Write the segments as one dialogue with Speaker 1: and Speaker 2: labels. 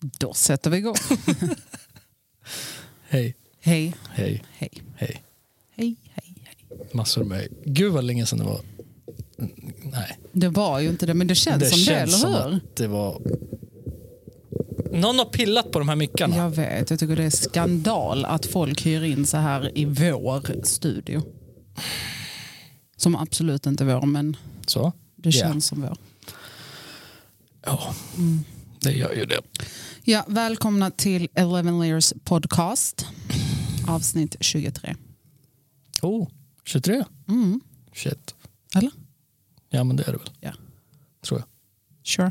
Speaker 1: Då sätter vi igång.
Speaker 2: Hej,
Speaker 1: hej,
Speaker 2: hej,
Speaker 1: hej,
Speaker 2: hej.
Speaker 1: hej, hej, hej.
Speaker 2: Massor med hej. Gud vad länge sedan det var. Nej.
Speaker 1: Det var ju inte det, men det känns som det, eller hur?
Speaker 2: att det var... Någon har pillat på de här mickarna.
Speaker 1: Jag vet, jag tycker det är skandal att folk hyr in så här i vår studio. Som absolut inte är vår, men
Speaker 2: Så.
Speaker 1: det
Speaker 2: Ja.
Speaker 1: känns som vår.
Speaker 2: Ja, det gör ju det.
Speaker 1: Ja, välkomna till 11 Layers podcast, avsnitt 23.
Speaker 2: Oh, 23?
Speaker 1: Mm.
Speaker 2: Shit.
Speaker 1: Eller?
Speaker 2: Ja, men det är det väl.
Speaker 1: Ja.
Speaker 2: Tror jag.
Speaker 1: Sure.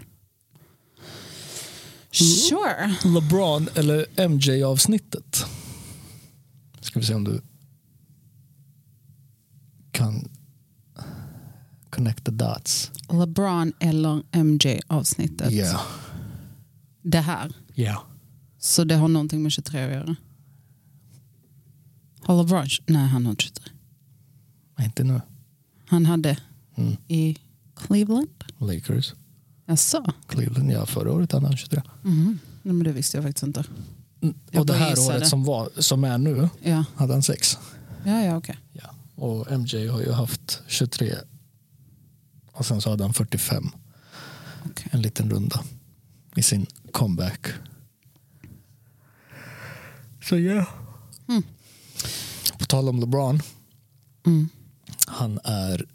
Speaker 1: Sure.
Speaker 2: LeBron eller MJ-avsnittet. Ska vi se om du kan connect the dots.
Speaker 1: LeBron eller MJ-avsnittet. Det här.
Speaker 2: Yeah.
Speaker 1: Så det har någonting med 23 att göra? Har LeBron? Nej, han har inte 23.
Speaker 2: Inte nu.
Speaker 1: Han hade
Speaker 2: Mm.
Speaker 1: i Cleveland.
Speaker 2: Lakers.
Speaker 1: Jaså?
Speaker 2: Cleveland, ja förra året hade han 23.
Speaker 1: Mhm. Nej, men det visste jag faktiskt inte. Mm, Jag
Speaker 2: Och det
Speaker 1: bara
Speaker 2: här
Speaker 1: gissade.
Speaker 2: året som, var, som är nu
Speaker 1: Ja,
Speaker 2: hade han 6.
Speaker 1: ja, ja okej.
Speaker 2: Ja. Och MJ har ju haft 23 och sen så hade han 45
Speaker 1: Okej.
Speaker 2: en liten runda i sin comeback. Så ja.
Speaker 1: Mm.
Speaker 2: På tal om LeBron,
Speaker 1: Mm.
Speaker 2: han är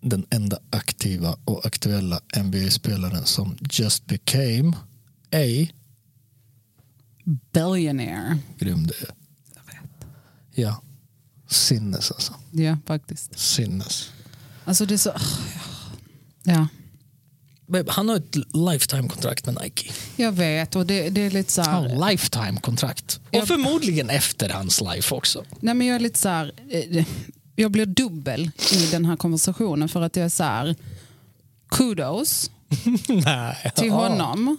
Speaker 2: den enda aktiva och aktuella NBA-spelaren som just became a
Speaker 1: Billionaire.
Speaker 2: grym det är. Ja. Sinnes alltså.
Speaker 1: Ja, faktiskt.
Speaker 2: Sinnes.
Speaker 1: Alltså det är så... Ja,
Speaker 2: Babe, han har ett lifetime-kontrakt med Nike.
Speaker 1: jag vet. Och det, det är lite så här...
Speaker 2: Han har lifetime-kontrakt.
Speaker 1: Jag-
Speaker 2: Och förmodligen efter hans life också.
Speaker 1: Nej, men jag är lite så här, eh, jag blir dubbel i den här konversationen för att jag är så här, kudos
Speaker 2: Nej.
Speaker 1: till honom.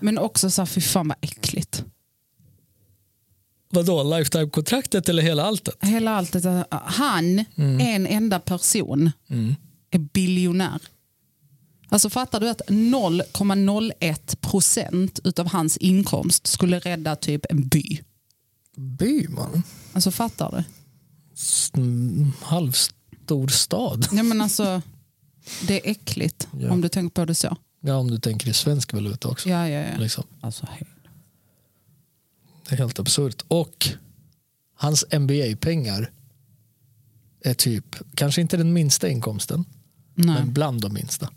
Speaker 1: Men också så här, fy fan vad äckligt.
Speaker 2: Vadå, lifetime-kontraktet eller hela alltet?
Speaker 1: Hela allt, det där, han, en enda person, är biljonär. Alltså fattar du att 0,01 procent utav hans inkomst skulle rädda typ en by.
Speaker 2: Byman?
Speaker 1: Alltså fattar du?
Speaker 2: Halvstor stad.
Speaker 1: Nej men alltså, det är äckligt
Speaker 2: Ja.
Speaker 1: om du tänker på det så.
Speaker 2: Ja, om du tänker i svensk valuta också.
Speaker 1: Ja, ja, ja.
Speaker 2: Liksom.
Speaker 1: Alltså,
Speaker 2: Det är helt absurt. Och hans NBA-pengar är typ, kanske inte den minsta inkomsten,
Speaker 1: nej.
Speaker 2: men bland de minsta.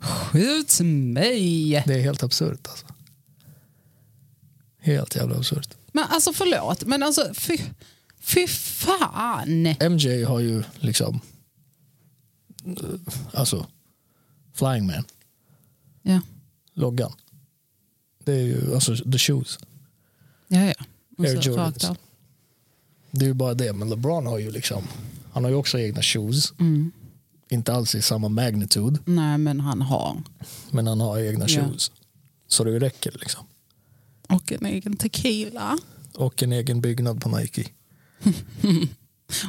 Speaker 1: Skjut mig!
Speaker 2: Det är helt absurt alltså. Helt jävla absurt.
Speaker 1: Men alltså förlåt, men alltså fy, fy fan.
Speaker 2: MJ har ju liksom, eh, alltså, Flying Man,
Speaker 1: Ja,
Speaker 2: loggan. Det är ju, alltså the shoes.
Speaker 1: ja, ja. Och
Speaker 2: Air
Speaker 1: så
Speaker 2: Jordans.
Speaker 1: rakt av.
Speaker 2: Det är ju bara det, men LeBron har ju liksom, han har ju också egna shoes.
Speaker 1: Mm.
Speaker 2: Inte alls i samma magnitude,
Speaker 1: Nej, men han har.
Speaker 2: men han har egna
Speaker 1: Ja.
Speaker 2: shoes. Så det räcker liksom.
Speaker 1: Och en egen tequila.
Speaker 2: Och en egen byggnad på Nike.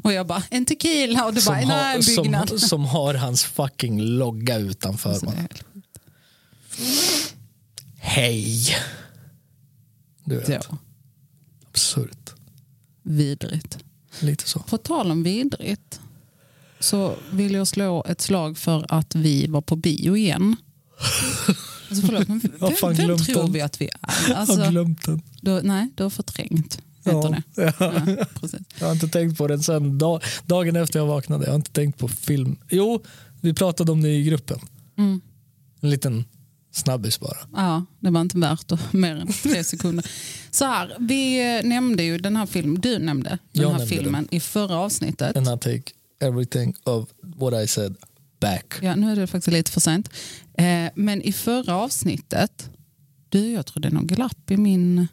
Speaker 1: Och jag bara, en tequila och du bara, nej, en byggnad.
Speaker 2: som, som har hans fucking logga utanför.
Speaker 1: Alltså, det
Speaker 2: Man.
Speaker 1: är-
Speaker 2: Hej! Du vet,
Speaker 1: ja,
Speaker 2: absurt.
Speaker 1: vidrigt.
Speaker 2: Lite så.
Speaker 1: På tal om vidrigt så vill jag slå ett slag för att vi var på bio igen. Alltså förlåt, men
Speaker 2: Jag har
Speaker 1: vem,
Speaker 2: fan
Speaker 1: vem
Speaker 2: glömt
Speaker 1: tror
Speaker 2: den.
Speaker 1: vi att vi är?
Speaker 2: Jag har
Speaker 1: Alltså,
Speaker 2: glömt den.
Speaker 1: du, nej, du har förträngt. Heter
Speaker 2: Ja,
Speaker 1: det. Ja, precis.
Speaker 2: jag har inte tänkt på den sen dag, dagen efter jag vaknade. Jag har inte tänkt på film. Jo, vi pratade om det i gruppen.
Speaker 1: Mm.
Speaker 2: En liten snabbis bara.
Speaker 1: Ja, det var inte värt att- mer än tre sekunder. Så här, vi eh, nämnde ju den här filmen, du nämnde den
Speaker 2: Jag
Speaker 1: här
Speaker 2: nämnde
Speaker 1: filmen i förra avsnittet.
Speaker 2: And I take everything of what I said back.
Speaker 1: Ja, nu är det faktiskt lite för sent. Eh, men i förra avsnittet, du jag tror det är någon glapp i min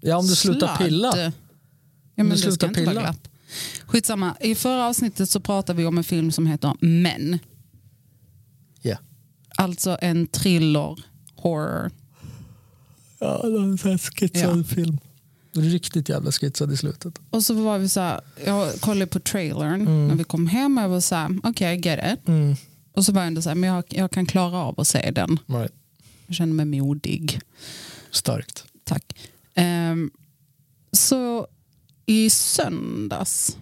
Speaker 2: Ja, om du slutar
Speaker 1: sladd.
Speaker 2: pilla.
Speaker 1: Ja, men
Speaker 2: du
Speaker 1: det
Speaker 2: slutar
Speaker 1: ska inte vara
Speaker 2: pilla.
Speaker 1: glapp. Skitsamma, i förra avsnittet så pratade vi om en film som heter Men.
Speaker 2: Ja.
Speaker 1: Alltså en thriller, horror.
Speaker 2: Ja, det var en sån här skitsad film. Riktigt jävla skitsad i slutet.
Speaker 1: Och så var vi så här, jag kollade på trailern när vi kom hem och jag var så här, okej, I get it.
Speaker 2: Mm.
Speaker 1: Och Och så var jag ändå så här, men jag, jag kan klara av att se den.
Speaker 2: Right.
Speaker 1: Jag känner mig modig.
Speaker 2: Starkt.
Speaker 1: Tack. Ehm, så i söndags,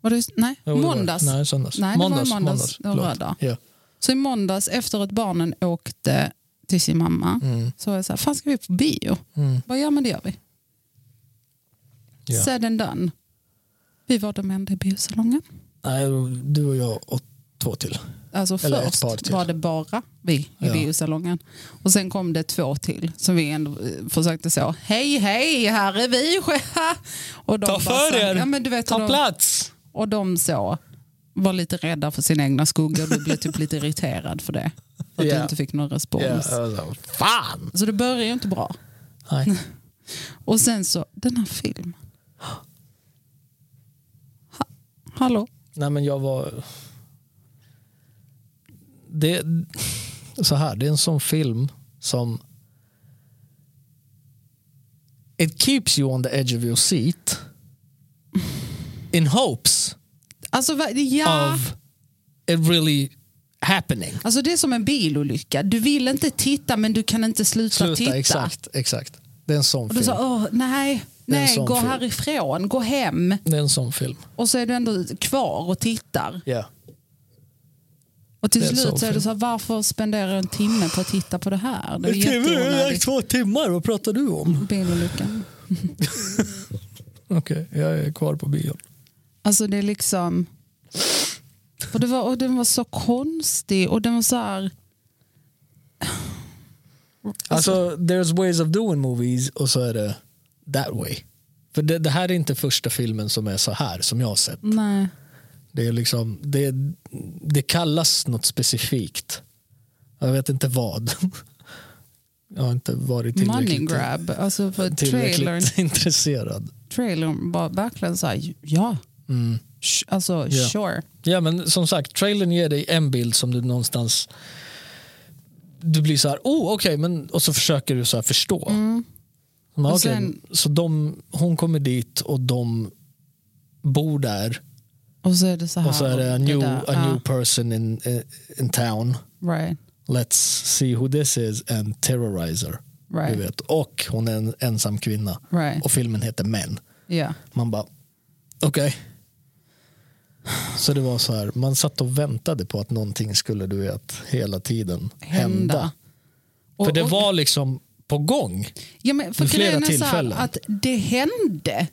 Speaker 1: var det, nej,
Speaker 2: Jo, det var-
Speaker 1: måndags.
Speaker 2: Nej, söndags.
Speaker 1: Nej, det var i
Speaker 2: måndags.
Speaker 1: måndags. Det var
Speaker 2: förlåt.
Speaker 1: lördag.
Speaker 2: Ja.
Speaker 1: Så i måndags efter att barnen åkte till sin mamma
Speaker 2: Mm.
Speaker 1: så var jag så här, fan ska vi på bio?
Speaker 2: Mm.
Speaker 1: Vad gör man det gör vi.
Speaker 2: Ja.
Speaker 1: Said and done. Vi var de enda i biosalongen.
Speaker 2: Nej, du och jag och två till.
Speaker 1: Alltså
Speaker 2: Eller ett par
Speaker 1: först
Speaker 2: till.
Speaker 1: var det bara vi i
Speaker 2: Ja.
Speaker 1: biosalongen. Och sen kom det två till som vi ändå eh, försökte så, hej hej, här är vi. Och de
Speaker 2: Ta
Speaker 1: bara
Speaker 2: för
Speaker 1: så-
Speaker 2: er.
Speaker 1: Ja, men du vet, och
Speaker 2: Ta
Speaker 1: de-
Speaker 2: plats!
Speaker 1: Och de så var lite rädda för sina egna skuggor. Du blev typ lite irriterad för det. För att
Speaker 2: Ja.
Speaker 1: du inte fick någon respons.
Speaker 2: Ja, alltså, fan!
Speaker 1: Så det börjar ju inte bra.
Speaker 2: Nej.
Speaker 1: Och sen så, den här filmen. Ha, hallå?
Speaker 2: Nej, men jag var... Det, så här, det är en sån film som... It keeps you on the edge of your seat in hopes
Speaker 1: Alltså, va, ja.
Speaker 2: of it really happening.
Speaker 1: alltså det är som en bilolycka. Du vill inte titta men du kan inte sluta,
Speaker 2: Sluta,
Speaker 1: titta.
Speaker 2: exakt, exakt. Det är en sån
Speaker 1: Och du
Speaker 2: film.
Speaker 1: sa, åh, nej,
Speaker 2: Det är en
Speaker 1: nej
Speaker 2: sån
Speaker 1: gå
Speaker 2: film.
Speaker 1: härifrån, gå hem.
Speaker 2: Det är en sån film.
Speaker 1: Och så är du ändå kvar och tittar.
Speaker 2: Ja.
Speaker 1: Och till
Speaker 2: Det är en
Speaker 1: slut
Speaker 2: sån
Speaker 1: så är det
Speaker 2: film.
Speaker 1: så här, varför spenderar jag en timme på att titta på det här? Det är ju jätteonödigt.
Speaker 2: två timmar, vad pratar du om?
Speaker 1: Bilolyckan.
Speaker 2: Okej, jag är kvar på bion.
Speaker 1: Alltså det är liksom... Och, det var, och den var så konstig och den var så här...
Speaker 2: Alltså, there's ways of doing movies och så är det that way. För det, det här är inte första filmen som är så här som jag har sett.
Speaker 1: Nej.
Speaker 2: Det, är liksom, det, det kallas något specifikt. Jag vet inte vad. Jag har inte varit
Speaker 1: Money
Speaker 2: tillräckligt,
Speaker 1: grab. Alltså för trailern,
Speaker 2: tillräckligt intresserad.
Speaker 1: trailern var verkligen så här, ja.
Speaker 2: Mm.
Speaker 1: Sh- Alltså
Speaker 2: Ja.
Speaker 1: sure.
Speaker 2: Ja men som sagt, trailern ger dig en bild som du någonstans du blir så här, oh okej, men och så försöker du så här förstå. Men,
Speaker 1: Mm. Och
Speaker 2: okej,
Speaker 1: sen-
Speaker 2: så de, hon kommer dit och de bor där
Speaker 1: Och så är det så här.
Speaker 2: och så är det a new,
Speaker 1: där.
Speaker 2: a new person in, eh, in town.
Speaker 1: Ja, right,
Speaker 2: Let's see who this is and terrorizer. Du
Speaker 1: right,
Speaker 2: vet. Och hon är en ensam kvinna
Speaker 1: right.
Speaker 2: och filmen heter Män.
Speaker 1: Ja.
Speaker 2: Man bara, okej. Så det var så här, man satt och väntade på att någonting skulle du vet hela tiden hända.
Speaker 1: Hända. Och,
Speaker 2: För det
Speaker 1: och-
Speaker 2: var liksom på gång.
Speaker 1: ja, men för
Speaker 2: vid flera
Speaker 1: grejen är så här
Speaker 2: tillfällen.
Speaker 1: att det hände.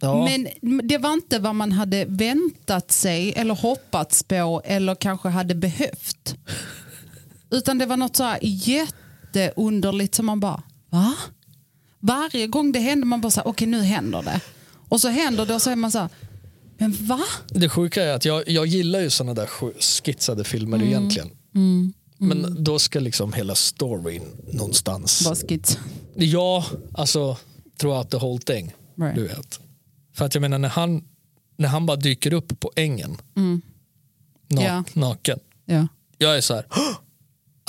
Speaker 2: Ja,
Speaker 1: Men det var inte vad man hade väntat sig eller hoppats på eller kanske hade behövt. Utan det var något så här jätteunderligt som man bara, va? Varje gång det hände man bara så här, okej nu händer det. Och så händer det och så är man så här, men va?
Speaker 2: det sjuka är att jag, jag gillar ju sådana där sj- skitsade filmer
Speaker 1: Mm.
Speaker 2: egentligen. Men då ska liksom hela storyn någonstans.
Speaker 1: Basket.
Speaker 2: Ja, alltså throughout the whole thing.
Speaker 1: Right.
Speaker 2: Du vet. För att jag menar när han, när han bara dyker upp på ängen na-
Speaker 1: Mm. Ja.
Speaker 2: naken.
Speaker 1: Ja,
Speaker 2: Jag är så här,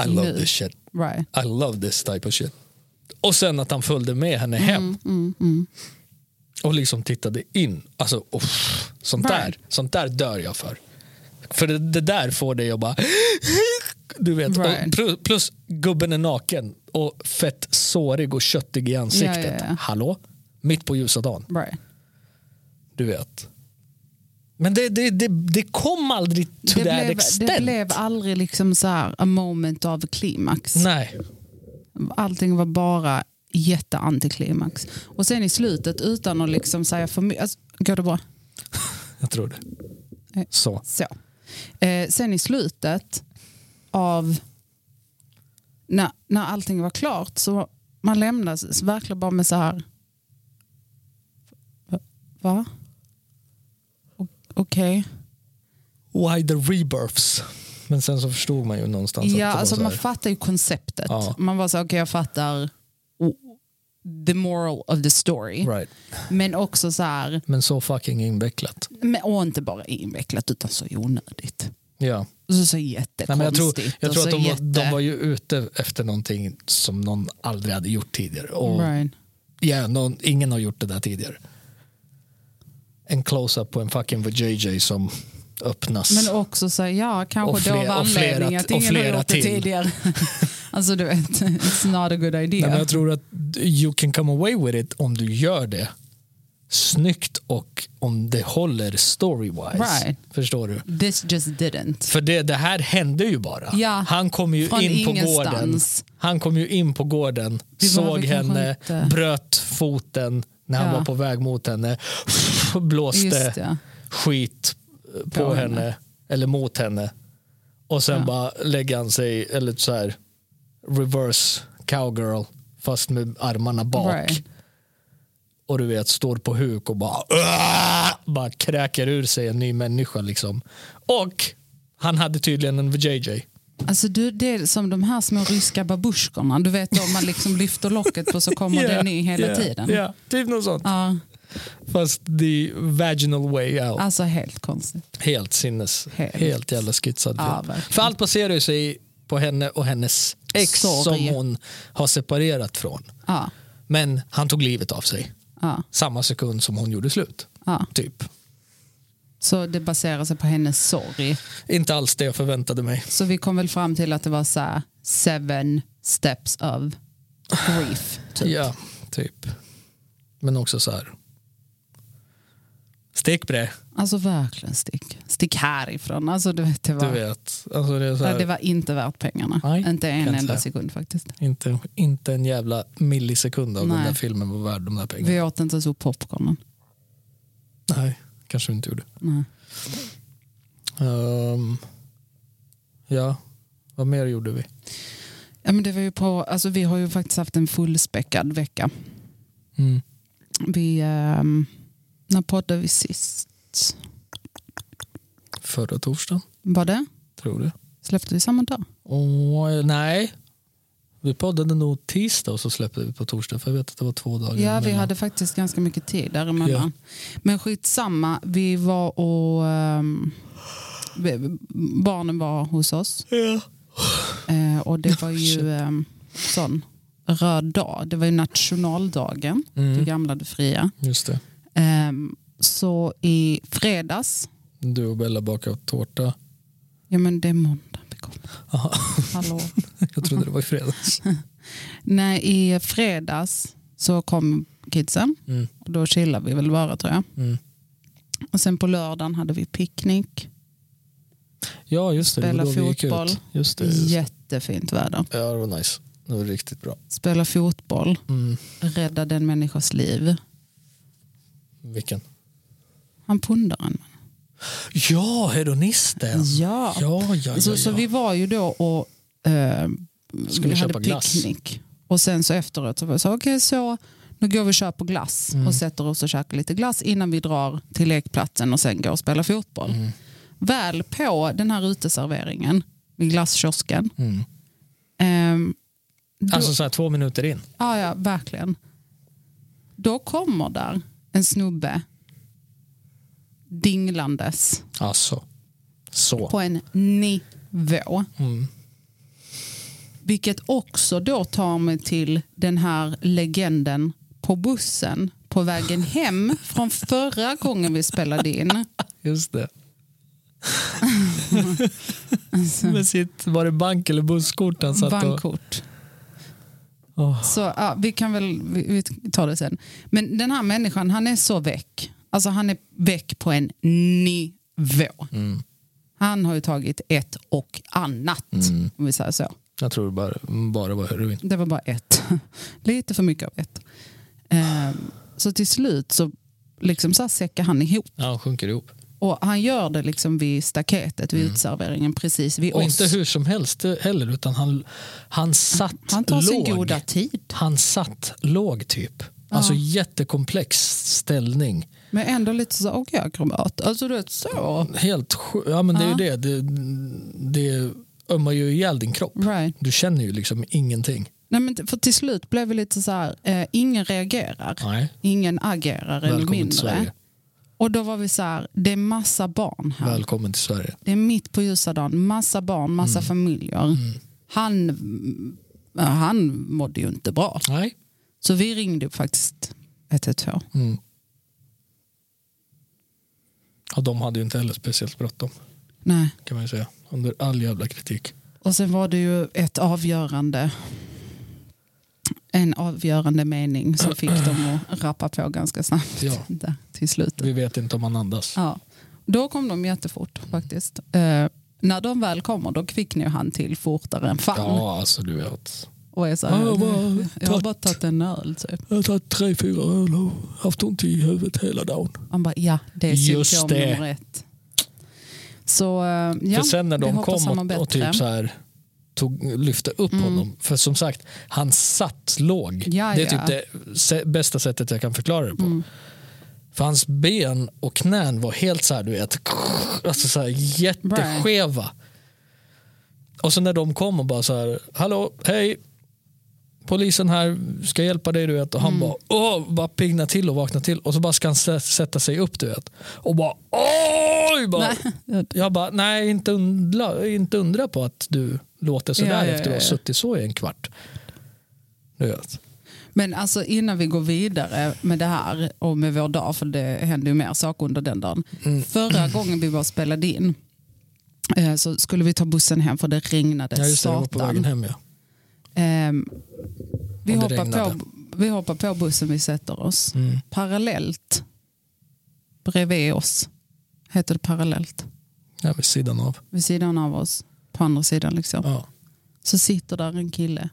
Speaker 2: I love
Speaker 1: Nu.
Speaker 2: this shit.
Speaker 1: right.
Speaker 2: I love this type of shit. Och sen att han följde med henne
Speaker 1: Mm,
Speaker 2: hem. Och liksom tittade in. Alltså, uff, sånt,
Speaker 1: Right.
Speaker 2: där, sånt där dör jag för. För det, det där får dig att bara... Du vet, och
Speaker 1: Right.
Speaker 2: plu- plus gubben är naken och fett sårig och köttig i ansiktet.
Speaker 1: Ja, ja, ja.
Speaker 2: Hallå? Mitt på ljusa dagen.
Speaker 1: right.
Speaker 2: Du vet. Men det, det, det, det kom aldrig to
Speaker 1: Det,
Speaker 2: that
Speaker 1: blev,
Speaker 2: extent.
Speaker 1: det blev aldrig liksom så här a moment av klimax.
Speaker 2: Nej.
Speaker 1: Allting var bara jätteantiklimax. Och sen i slutet utan att liksom säga för mycket. Alltså, går det bra?
Speaker 2: Jag tror det.
Speaker 1: Nej.
Speaker 2: Så.
Speaker 1: Så. Eh, sen i slutet av när, när allting var klart så man lämnades verkligen bara med så här. "Va- Va? O- Okej.
Speaker 2: Why the rebirths? Men sen så förstod man ju någonstans.
Speaker 1: Ja,
Speaker 2: att det var
Speaker 1: alltså
Speaker 2: så här-
Speaker 1: man fattar ju konceptet.
Speaker 2: Ja.
Speaker 1: Man var så okej jag fattar o- the moral of the story.
Speaker 2: right.
Speaker 1: Men också så här,
Speaker 2: Men så fucking invecklat.
Speaker 1: men, och inte bara invecklat utan så onödigt.
Speaker 2: Ja.
Speaker 1: Och så, så
Speaker 2: Nej, men jag tror,
Speaker 1: jättekonstigt.
Speaker 2: jag
Speaker 1: och
Speaker 2: tror
Speaker 1: så
Speaker 2: att de,
Speaker 1: jätte...
Speaker 2: var, de var ju ute efter någonting som någon aldrig hade gjort tidigare. Och
Speaker 1: Right.
Speaker 2: ja, någon, ingen har gjort det där tidigare. En close-up på en fucking JJ som öppnas.
Speaker 1: Men också så här, ja, kanske
Speaker 2: Och fler-
Speaker 1: då var
Speaker 2: och flera
Speaker 1: anledningen
Speaker 2: t-
Speaker 1: att
Speaker 2: och
Speaker 1: ingen har
Speaker 2: flera
Speaker 1: gjort det
Speaker 2: till.
Speaker 1: tidigare. alltså du vet, it's not a good idea.
Speaker 2: Nej, men jag tror att you can come away with it om du gör det snyggt och om det håller story-wise.
Speaker 1: Right.
Speaker 2: Förstår du?
Speaker 1: This just didn't.
Speaker 2: För det, det här hände ju bara.
Speaker 1: Ja,
Speaker 2: Han kom ju
Speaker 1: från
Speaker 2: in på gården.
Speaker 1: ingenstans.
Speaker 2: Han kom ju in på gården,
Speaker 1: Vi behöver
Speaker 2: såg
Speaker 1: kanske
Speaker 2: henne,
Speaker 1: inte-
Speaker 2: bröt foten när han
Speaker 1: Ja.
Speaker 2: var på väg mot henne,
Speaker 1: Just
Speaker 2: blåste
Speaker 1: det.
Speaker 2: skit på,
Speaker 1: På
Speaker 2: henne.
Speaker 1: henne.
Speaker 2: eller mot henne. Och sen bara lägger han sig, eller så här, reverse cowgirl, fast med armarna bak.
Speaker 1: Right.
Speaker 2: Och du vet, står på huk och bara, "Åh!" bara kräker ur sig en ny människa. Liksom. Och han hade tydligen en JJ.
Speaker 1: Alltså du, det är som de här små ryska babusjkorna. Du vet om man liksom lyfter locket på så kommer
Speaker 2: Yeah,
Speaker 1: den ny hela
Speaker 2: yeah,
Speaker 1: tiden.
Speaker 2: yeah. typ något sånt.
Speaker 1: Ja,
Speaker 2: Fast the vaginal way out.
Speaker 1: alltså helt konstigt.
Speaker 2: Helt sinnes. Helt,
Speaker 1: Helt.
Speaker 2: jävla skitsad
Speaker 1: Ja,
Speaker 2: film.
Speaker 1: verkligen.
Speaker 2: För allt baserar ju sig på henne och hennes ex
Speaker 1: Sorg.
Speaker 2: som hon har separerat från.
Speaker 1: Ja,
Speaker 2: Men han tog livet av sig
Speaker 1: ja,
Speaker 2: samma sekund som hon gjorde slut.
Speaker 1: ja.
Speaker 2: Typ.
Speaker 1: Så det baserar sig på hennes sorg.
Speaker 2: Inte alls det jag förväntade mig.
Speaker 1: Så vi kom väl fram till att det var så här, seven steps of grief. Typ.
Speaker 2: Ja, typ. Men också så här. Stick bre,
Speaker 1: Alltså verkligen stick. Stick härifrån. Alltså, du vet, det, var,
Speaker 2: du vet. Alltså det är så
Speaker 1: Ja,
Speaker 2: här,
Speaker 1: det var inte värt pengarna.
Speaker 2: Nej,
Speaker 1: inte en
Speaker 2: kan jag
Speaker 1: enda
Speaker 2: säga.
Speaker 1: sekund faktiskt.
Speaker 2: inte, inte en jävla millisekund av den
Speaker 1: Nej.
Speaker 2: där filmen var värd de där pengarna.
Speaker 1: Vi åt inte ens upp popcornen.
Speaker 2: Nej, kanske vi inte gjorde.
Speaker 1: Nej.
Speaker 2: Ehm, ja, vad mer gjorde vi?
Speaker 1: Ja, men det var ju på, alltså, vi har ju faktiskt haft en fullspäckad vecka.
Speaker 2: Mm.
Speaker 1: Vi, ehm, när poddade vi sist?
Speaker 2: Förra torsdagen,
Speaker 1: Var det?
Speaker 2: tror du?
Speaker 1: Släppte vi samma dag?
Speaker 2: Åh, nej, vi poddade nog tisdag och så släppte vi på torsdag för jag vet att det var två dagar
Speaker 1: Ja, vi
Speaker 2: emellan.
Speaker 1: hade faktiskt ganska mycket tid däremellan. Men skitsamma, vi var och... ehm, vi- barnen var hos oss
Speaker 2: Ja.
Speaker 1: eh, och det var ju um, sån röd dag. Det var ju nationaldagen, det
Speaker 2: Mm,
Speaker 1: gamla det fria.
Speaker 2: just det.
Speaker 1: Ehm, så i fredags
Speaker 2: Du och Bella bakade tårta.
Speaker 1: Ja men det är måndag vi kommer.
Speaker 2: Aha,
Speaker 1: Hallå.
Speaker 2: jag trodde det var i fredags.
Speaker 1: Nej, i fredags så kom kidsen
Speaker 2: Mm,
Speaker 1: och då chillade vi väl bara tror jag.
Speaker 2: mm.
Speaker 1: Och sen på lördagen hade vi picknick.
Speaker 2: Ja, just det. det. var
Speaker 1: Spela
Speaker 2: då vi gick
Speaker 1: fotboll.
Speaker 2: Ut. Just det, just. det.
Speaker 1: Jättefint väder.
Speaker 2: Ja, det var nice. Det var riktigt bra.
Speaker 1: Spela fotboll,
Speaker 2: Mm.
Speaker 1: räddade en människas liv.
Speaker 2: Vilken?
Speaker 1: Han pundaren.
Speaker 2: Ja, hedonisten.
Speaker 1: Ja.
Speaker 2: Ja, ja, ja,
Speaker 1: Så,
Speaker 2: ja.
Speaker 1: så vi var ju då och eh,
Speaker 2: Skulle
Speaker 1: vi
Speaker 2: köpa
Speaker 1: hade
Speaker 2: glass.
Speaker 1: picknick. Och sen så efteråt så var jag så, okej så nu går vi och köper glass
Speaker 2: Mm.
Speaker 1: och sätter oss och käkar lite glass innan vi drar till lekplatsen och sen går och spelar fotboll.
Speaker 2: Mm.
Speaker 1: Väl på den här uteserveringen vid glasskiosken.
Speaker 2: Mm.
Speaker 1: ehm, då,
Speaker 2: Alltså så här två minuter in.
Speaker 1: ja, ja, verkligen. Då kommer där en snubbe dinglandes
Speaker 2: Alltså. Så.
Speaker 1: på en nivå.
Speaker 2: Mm.
Speaker 1: Vilket också då tar mig till den här legenden på bussen på vägen hem från förra gången vi spelade in.
Speaker 2: Just det. Med sitt, var det bank eller busskort han satt och...
Speaker 1: Bankkort.
Speaker 2: Åh.
Speaker 1: Så ja, vi kan väl vi, vi tar det sen. Men den här människan, han är så väck. Alltså han är väck på en nivå.
Speaker 2: Mm.
Speaker 1: Han har ju tagit ett och annat,
Speaker 2: Mm.
Speaker 1: om vi säger så.
Speaker 2: Jag tror det bara, bara var heroin.
Speaker 1: Det var bara ett. Lite för mycket av ett. Ehm, så till slut så liksom så här säckar han ihop.
Speaker 2: Ja, han sjunker ihop.
Speaker 1: Och han gör det liksom vid staketet, vid utserveringen, precis vid
Speaker 2: Mm. Och
Speaker 1: oss.
Speaker 2: inte hur som helst heller, utan han, han satt
Speaker 1: han tar
Speaker 2: låg.
Speaker 1: sin goda tid,
Speaker 2: Han satt låg typ. Alltså jättekomplex ställning.
Speaker 1: men ändå lite så här, okej akrobat. Alltså du vet så.
Speaker 2: Helt sj- Ja men det är ju
Speaker 1: Ja.
Speaker 2: det. Det, det ömmar ju ihjäl din kropp.
Speaker 1: Right.
Speaker 2: Du känner ju liksom ingenting.
Speaker 1: Nej, men t- för till slut blev vi lite så här, eh, ingen reagerar,
Speaker 2: Nej.
Speaker 1: ingen agerar eller
Speaker 2: Välkommen till Sverige.
Speaker 1: mindre. Och då var vi så här, det är massa barn här.
Speaker 2: Välkommen till Sverige.
Speaker 1: Det är mitt på ljusa dagen, massa barn,
Speaker 2: Mm.
Speaker 1: massa familjer. Han, mm, han mådde ju inte bra.
Speaker 2: Nej.
Speaker 1: Så vi ringde upp faktiskt 112.
Speaker 2: Mm. Ja, de hade ju inte heller speciellt bråttom
Speaker 1: Nej.
Speaker 2: kan man ju säga. Under all jävla kritik.
Speaker 1: Och sen var det ju ett avgörande. En avgörande mening som fick dem att rappa på ganska snabbt
Speaker 2: Ja.
Speaker 1: där, till slutet.
Speaker 2: Vi vet inte om han andas.
Speaker 1: Ja. Då kom de jättefort faktiskt. Eh, när de väl kommer då kvicknar ju han till fortare än fan.
Speaker 2: Ja, alltså du vet.
Speaker 1: Och är så
Speaker 2: Ja,
Speaker 1: här,
Speaker 2: jag bara
Speaker 1: jag har
Speaker 2: tagit-
Speaker 1: bara tagit en öl typ.
Speaker 2: Jag har tagit tre, fyra öl och haft ont i huvudet hela dagen.
Speaker 1: Han bara, ja det är
Speaker 2: Just
Speaker 1: symptom
Speaker 2: det.
Speaker 1: nummer ett. Så eh, ja,
Speaker 2: för sen när
Speaker 1: vi
Speaker 2: de
Speaker 1: hoppas
Speaker 2: kom
Speaker 1: han mår
Speaker 2: och, och
Speaker 1: bättre. Mm.
Speaker 2: typ så här tog, lyfte upp honom. För som sagt, han satt låg.
Speaker 1: Ja,
Speaker 2: det är
Speaker 1: ja. Mm.
Speaker 2: typ det se- bästa sättet jag kan förklara det på. För hans ben och knän var helt så här, du vet, alltså så här jätteskeva. Och sen när de kom och bara så här, hallå, hej, polisen här ska hjälpa dig du vet. Och han
Speaker 1: Mm.
Speaker 2: bara, åh, bara pigna till och vakna till. Och så bara ska han sä- sätta sig upp du vet. Och bara, oj! Bara,
Speaker 1: Nej.
Speaker 2: jag bara, nej inte undra, inte undra på att du låter sådär
Speaker 1: Ja, ja,
Speaker 2: efter att ha
Speaker 1: ja.
Speaker 2: suttit så i en kvart. Du vet.
Speaker 1: Men alltså innan vi går vidare med det här och med vår dag, för det hände ju mer saker under den dagen.
Speaker 2: Mm.
Speaker 1: Förra gången vi bara spelade in eh, så skulle vi ta bussen hem för det regnade
Speaker 2: Ja, just det, jag var på vägen
Speaker 1: satan.
Speaker 2: hem ja.
Speaker 1: Ehm, vi,
Speaker 2: Och det
Speaker 1: hoppar
Speaker 2: regnade. Mm.
Speaker 1: på, vi hoppar på bussen, vi sätter oss. Parallellt, bredvid oss, heter det parallellt,
Speaker 2: ja vid sidan av.
Speaker 1: vid sidan av oss, på andra sidan liksom.
Speaker 2: Ja.
Speaker 1: Så sitter där en kille,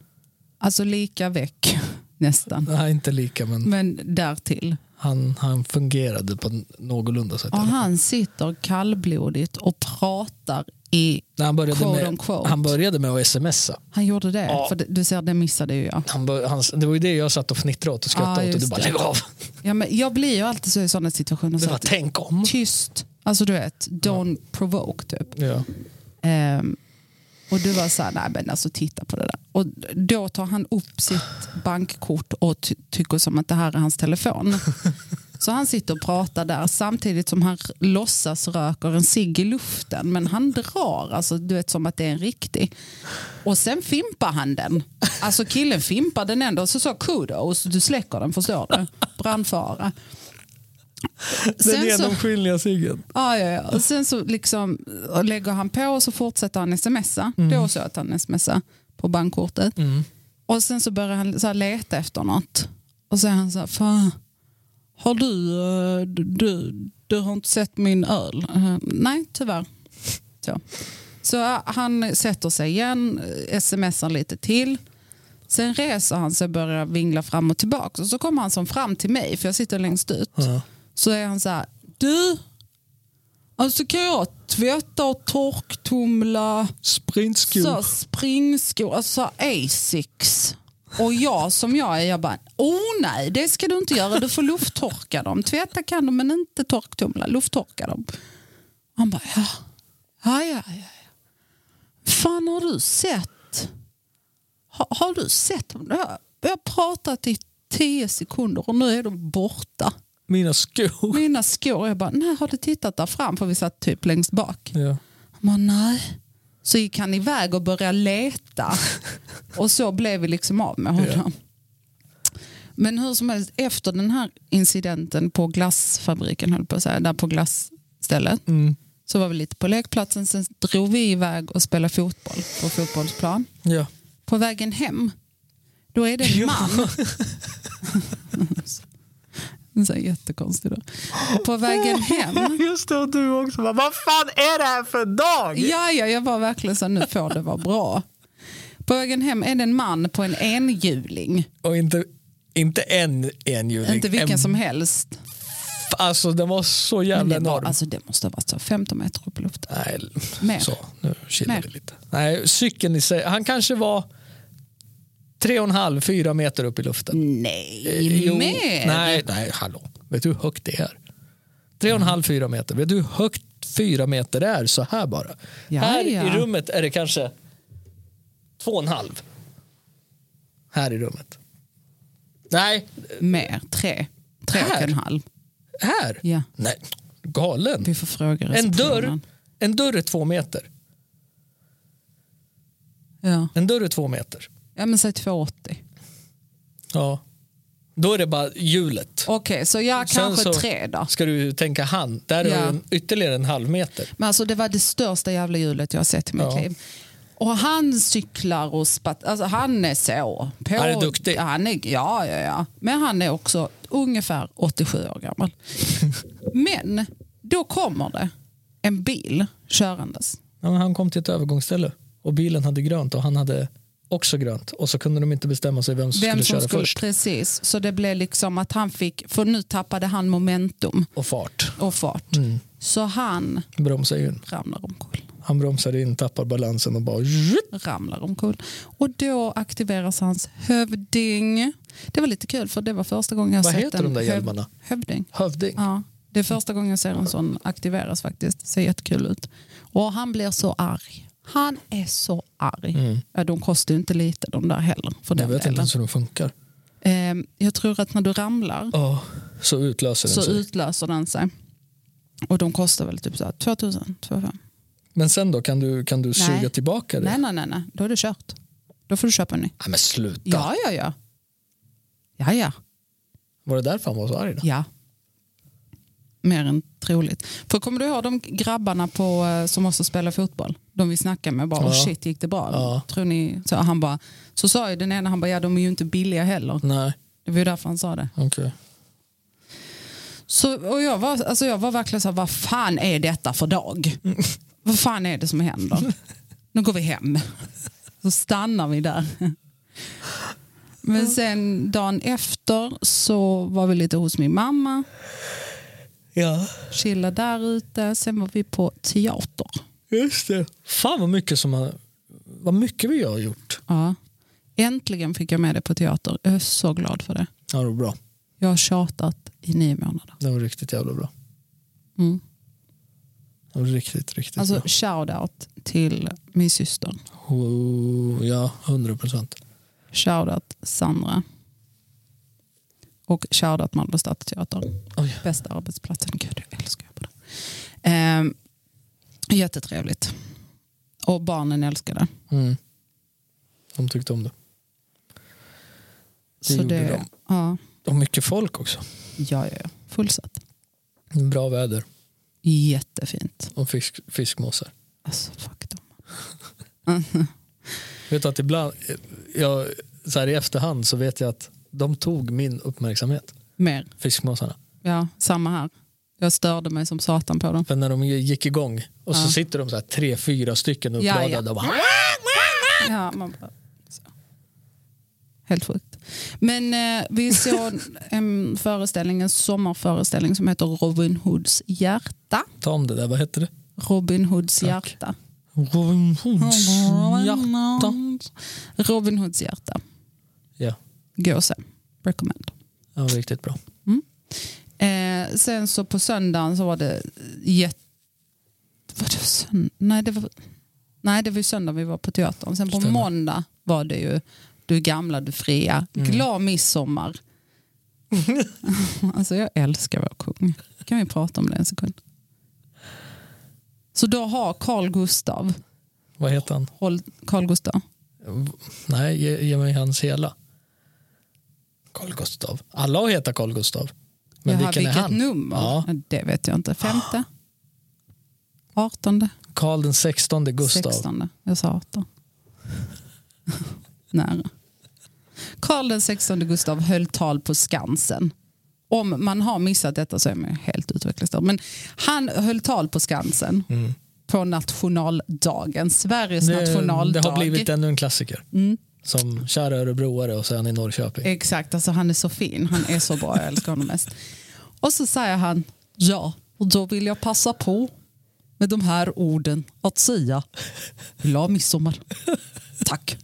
Speaker 1: alltså lika väck nästan,
Speaker 2: Nej, inte lika men
Speaker 1: men därtill.
Speaker 2: han, han fungerade på en någorlunda sätt. i
Speaker 1: Och
Speaker 2: alla fall.
Speaker 1: han sitter kallblodigt och pratar i...
Speaker 2: Nej, han, började
Speaker 1: quote
Speaker 2: med,
Speaker 1: unquote.
Speaker 2: han började med att smsa.
Speaker 1: Han gjorde det,
Speaker 2: Ja.
Speaker 1: för det- du ser det missade ju jag.
Speaker 2: Han bör, han, det var ju det jag satt och fnittrade åt och skrattade
Speaker 1: Ja,
Speaker 2: åt och du
Speaker 1: just
Speaker 2: bara
Speaker 1: det.
Speaker 2: lägg av.
Speaker 1: Ja, men jag blir ju alltid så i sådana situationer.
Speaker 2: Du
Speaker 1: Så
Speaker 2: bara,
Speaker 1: att,
Speaker 2: tänk om.
Speaker 1: tyst, alltså du vet, don't provoke typ.
Speaker 2: Ja.
Speaker 1: Ehm, och du var så här, nej men alltså titta på det där. Och då tar han upp sitt bankkort och ty- tycker som att det här är hans telefon. Så han sitter och pratar där samtidigt som han r- låtsas röker en cigg i luften. Men han drar, alltså, du vet som att det är en riktig. Och sen fimpar han den. Alltså killen fimpar den ändå. Så sa kudos, du släcker den förstår du. Brandfara. Sen så-
Speaker 2: genomskinliga ciggen.
Speaker 1: Ja, ja, ja. Och sen så liksom och lägger han på och så fortsätter han smsa. Då så att han smsa på bankkortet. Och sen så börjar han så här leta efter något. Och så är han så här, fan, har du, eh, du, du, du har inte sett min öl? Eh, Nej, tyvärr. Så, så eh, han sätter sig igen, eh, smsar lite till. Sen reser han sig och börjar vingla fram och tillbaka. Och så kommer han som fram till mig, för jag sitter längst ut. Så är han så här, du, alltså kan jag tvätta och torktumla
Speaker 2: Sprintskor.
Speaker 1: så här springskor, alltså så här Asics. Och jag som jag är, jag bara, oh nej, det ska du inte göra, du får lufttorka dem. Tvätta kan de men inte torktumla, lufttorka dem. Han bara, ja, ja, ja, ja. ja. Fan har du sett? Har, har du sett dem? Jag har- jag har pratat i tio sekunder och nu är de borta.
Speaker 2: Mina skor.
Speaker 1: Mina skor, jag bara, nej har du tittat där fram? För vi satt typ längst bak.
Speaker 2: Ja.
Speaker 1: Han bara, nej. Så gick han iväg och började leta. och så blev vi liksom av med honom.
Speaker 2: Ja.
Speaker 1: Men hur som helst, efter den här incidenten på glassfabriken, höll på att säga, där på glasstället,
Speaker 2: Mm.
Speaker 1: så var vi lite på lekplatsen. Sen drog vi iväg och spelade fotboll på fotbollsplan.
Speaker 2: Ja.
Speaker 1: På vägen hem, då är det en
Speaker 2: Ja.
Speaker 1: man. En sån här jättekonstig då. På vägen hem
Speaker 2: Just det, och du också bara, vad fan är det här för dag?
Speaker 1: Ja, ja, jag var verkligen så här, nu får det vara bra. På vägen hem är det en man på en enhjuling.
Speaker 2: Och inte, inte en enhjuling.
Speaker 1: Inte vilken
Speaker 2: en,
Speaker 1: som helst.
Speaker 2: Alltså den var så
Speaker 1: Men
Speaker 2: jävla
Speaker 1: det, var,
Speaker 2: enorm.
Speaker 1: alltså, det måste ha varit så 15 meter upp i luften.
Speaker 2: Nej,
Speaker 1: Mer.
Speaker 2: så nu chillar
Speaker 1: Mer.
Speaker 2: vi lite. Nej, cykeln i sig, han kanske var tre och en halv, fyra meter upp i luften.
Speaker 1: Nej,
Speaker 2: Eh, Jo,
Speaker 1: mer.
Speaker 2: Nej, nej, hallå. Vet du hur högt det är? Tre och en halv, fyra meter. Vet du hur högt fyra meter är så här bara?
Speaker 1: Ja,
Speaker 2: här
Speaker 1: ja.
Speaker 2: i rummet är det kanske två och en halv. Här i rummet. Nej,
Speaker 1: Mer, tre. Tre och
Speaker 2: Här?
Speaker 1: en halv.
Speaker 2: här?
Speaker 1: Ja.
Speaker 2: Nej, galen.
Speaker 1: Vi får fråga
Speaker 2: En dörr,
Speaker 1: receptionen.
Speaker 2: en dörr är två meter.
Speaker 1: Ja.
Speaker 2: En dörr är två meter.
Speaker 1: ja, men säg 280.
Speaker 2: Ja. Då är det bara hjulet.
Speaker 1: Okej, så jag
Speaker 2: Sen
Speaker 1: kanske
Speaker 2: så-
Speaker 1: tre då.
Speaker 2: Ska du tänka han, där
Speaker 1: Ja.
Speaker 2: är ju en- ytterligare en halv meter.
Speaker 1: Men alltså det var det största jävla hjulet jag har sett i mitt
Speaker 2: Ja.
Speaker 1: liv. Och han cyklar och spatt, alltså han är så. På,
Speaker 2: Han är duktig.
Speaker 1: Han är, ja, ja, ja. Men han är också ungefär 87 år gammal. Men då kommer det en bil körandes.
Speaker 2: Ja, men han kom till ett övergångsställe och bilen hade grönt och han hade också grönt och så kunde de inte bestämma sig vem som
Speaker 1: Vem
Speaker 2: skulle
Speaker 1: som
Speaker 2: köra
Speaker 1: skulle,
Speaker 2: först
Speaker 1: Precis, så det blev liksom att han fick, för nu tappade han momentum
Speaker 2: och fart.
Speaker 1: och fart.
Speaker 2: Mm.
Speaker 1: Så han
Speaker 2: Bromsar ju in.
Speaker 1: ramlar omkull.
Speaker 2: Han bromsar in, tappar balansen och bara zzzzt.
Speaker 1: ramlar omkull. Och då aktiveras hans hövding. Det var lite kul för det var första gången jag
Speaker 2: Vad
Speaker 1: sett
Speaker 2: heter
Speaker 1: en
Speaker 2: de där
Speaker 1: höv-
Speaker 2: hjälmarna?
Speaker 1: Hövding.
Speaker 2: hövding.
Speaker 1: Ja, det är första gången jag ser en sån aktiveras faktiskt. Det ser jättekul ut. Och han blir så arg. Han är så arg. Ja, de kostar ju inte lite de där heller. För
Speaker 2: Mm. Jag
Speaker 1: den
Speaker 2: vet inte
Speaker 1: delen.
Speaker 2: ens hur de funkar.
Speaker 1: Ehm, jag tror att när du ramlar
Speaker 2: Ja, så utlöser den
Speaker 1: så
Speaker 2: sig.
Speaker 1: utlöser den sig. Och de kostar väl typ så här 2000, 2500.
Speaker 2: Men sen då, kan du, kan du
Speaker 1: Nej.
Speaker 2: suga tillbaka det?
Speaker 1: Nej, nej, nej, nej, då är det kört. Då får du köpa en ny.
Speaker 2: Nej, men sluta.
Speaker 1: Ja, ja, ja. Ja, ja.
Speaker 2: Var det därför han var så arg? Då?
Speaker 1: ja. Mer än troligt. För kommer du ihåg de grabbarna på, eh, som också spelar fotboll? De vi snackade med bara,
Speaker 2: Ja.
Speaker 1: oh shit gick det bra?
Speaker 2: Ja.
Speaker 1: Tror ni? Så, han bara, så sa ju den ena, han bara, ja de är ju inte billiga heller.
Speaker 2: Nej,
Speaker 1: Det var ju därför han sa det.
Speaker 2: okej.
Speaker 1: Så, och jag, var, alltså jag var verkligen så här, vad fan är detta för dag? Vad fan är det som händer? Nu går vi hem. Så stannar vi där. Men sen dagen efter så var vi lite hos min mamma,
Speaker 2: Ja,
Speaker 1: chillade där ute. Sen var vi på teater.
Speaker 2: just det. Fan vad mycket, som har, vad mycket vi har gjort.
Speaker 1: Ja. Äntligen fick jag med det på teater. Jag är så glad för det.
Speaker 2: Ja, det var bra.
Speaker 1: Jag har tjatat i nio månader.
Speaker 2: Det var riktigt jävla bra.
Speaker 1: Mm.
Speaker 2: Det var riktigt, riktigt
Speaker 1: Alltså
Speaker 2: bra.
Speaker 1: shout-out till min syster.
Speaker 2: Oh, ja, 100 procent.
Speaker 1: Shoutout Sandra. Och shoutout Malmö Stadsteater.
Speaker 2: Oj.
Speaker 1: Bästa arbetsplatsen. Gud, jag älskar på det. Ehm, jättetrevligt. Och barnen älskar det.
Speaker 2: Mm. De tyckte om det. Det
Speaker 1: Så
Speaker 2: gjorde
Speaker 1: det,
Speaker 2: de.
Speaker 1: Ja,
Speaker 2: Och mycket folk också.
Speaker 1: ja, ja, ja. Fullsatt.
Speaker 2: Bra väder
Speaker 1: Jättefint.
Speaker 2: och fisk, fiskmåsar.
Speaker 1: Alltså, fuck dem.
Speaker 2: Vet du att ibland, jag, så här i efterhand så vet jag att de tog min uppmärksamhet,
Speaker 1: Mer.
Speaker 2: fiskmåsarna.
Speaker 1: Ja, samma här. Jag störde mig som satan på dem.
Speaker 2: För när de gick igång och så
Speaker 1: Ja.
Speaker 2: sitter de så här tre, fyra stycken
Speaker 1: ja.
Speaker 2: uppradade och bara
Speaker 1: Ja, man bara, så. Helt sjukt. Men eh, vi såg en föreställning, en sommarföreställning som heter Robin Hoods hjärta.
Speaker 2: ta om det där, vad heter det?
Speaker 1: Robin Hoods
Speaker 2: Tack.
Speaker 1: hjärta.
Speaker 2: Robin Hoods hjärta.
Speaker 1: Robin Hoods hjärta.
Speaker 2: Ja,
Speaker 1: Gå och se. Recommend.
Speaker 2: ja, riktigt bra.
Speaker 1: Eh, sen så på söndagen så var det jätte... Var det sönd... Nej, det var... Nej, det var ju söndag vi var på teatern. Sen på
Speaker 2: Stämmer.
Speaker 1: måndag var det ju Du gamla, du fria.
Speaker 2: Mm.
Speaker 1: Glad midsommar. alltså jag älskar vår kung. Kan vi prata om det en sekund? Så då har Carl Gustav,
Speaker 2: Vad heter han?
Speaker 1: håll, Carl Gustav,
Speaker 2: Nej, ge, ge mig hans hela. Carl Gustav. Alla har hetat Carl Gustav. Men
Speaker 1: Jaha,
Speaker 2: vilken är
Speaker 1: vilket
Speaker 2: han?
Speaker 1: nummer?
Speaker 2: Ja.
Speaker 1: Det vet jag inte. Femte? Artonde?
Speaker 2: Karl den 16 Gustav.
Speaker 1: 16. Jag sa 18. Nära. Karl den 16 Gustav höll tal på Skansen. Om man har missat detta så är man ju helt utvecklingsstörd. Men han höll tal på Skansen på nationaldagen. Sveriges nationaldag.
Speaker 2: Mm.
Speaker 1: Mm.
Speaker 2: det har blivit ännu en klassiker. Som kära örebroare och sen i Norrköping.
Speaker 1: Exakt, alltså han är så fin. Han är så bra, jag älskar honom mest. Och så säger han, ja, och då vill jag passa på med de här orden att säga glad midsommar. Tack.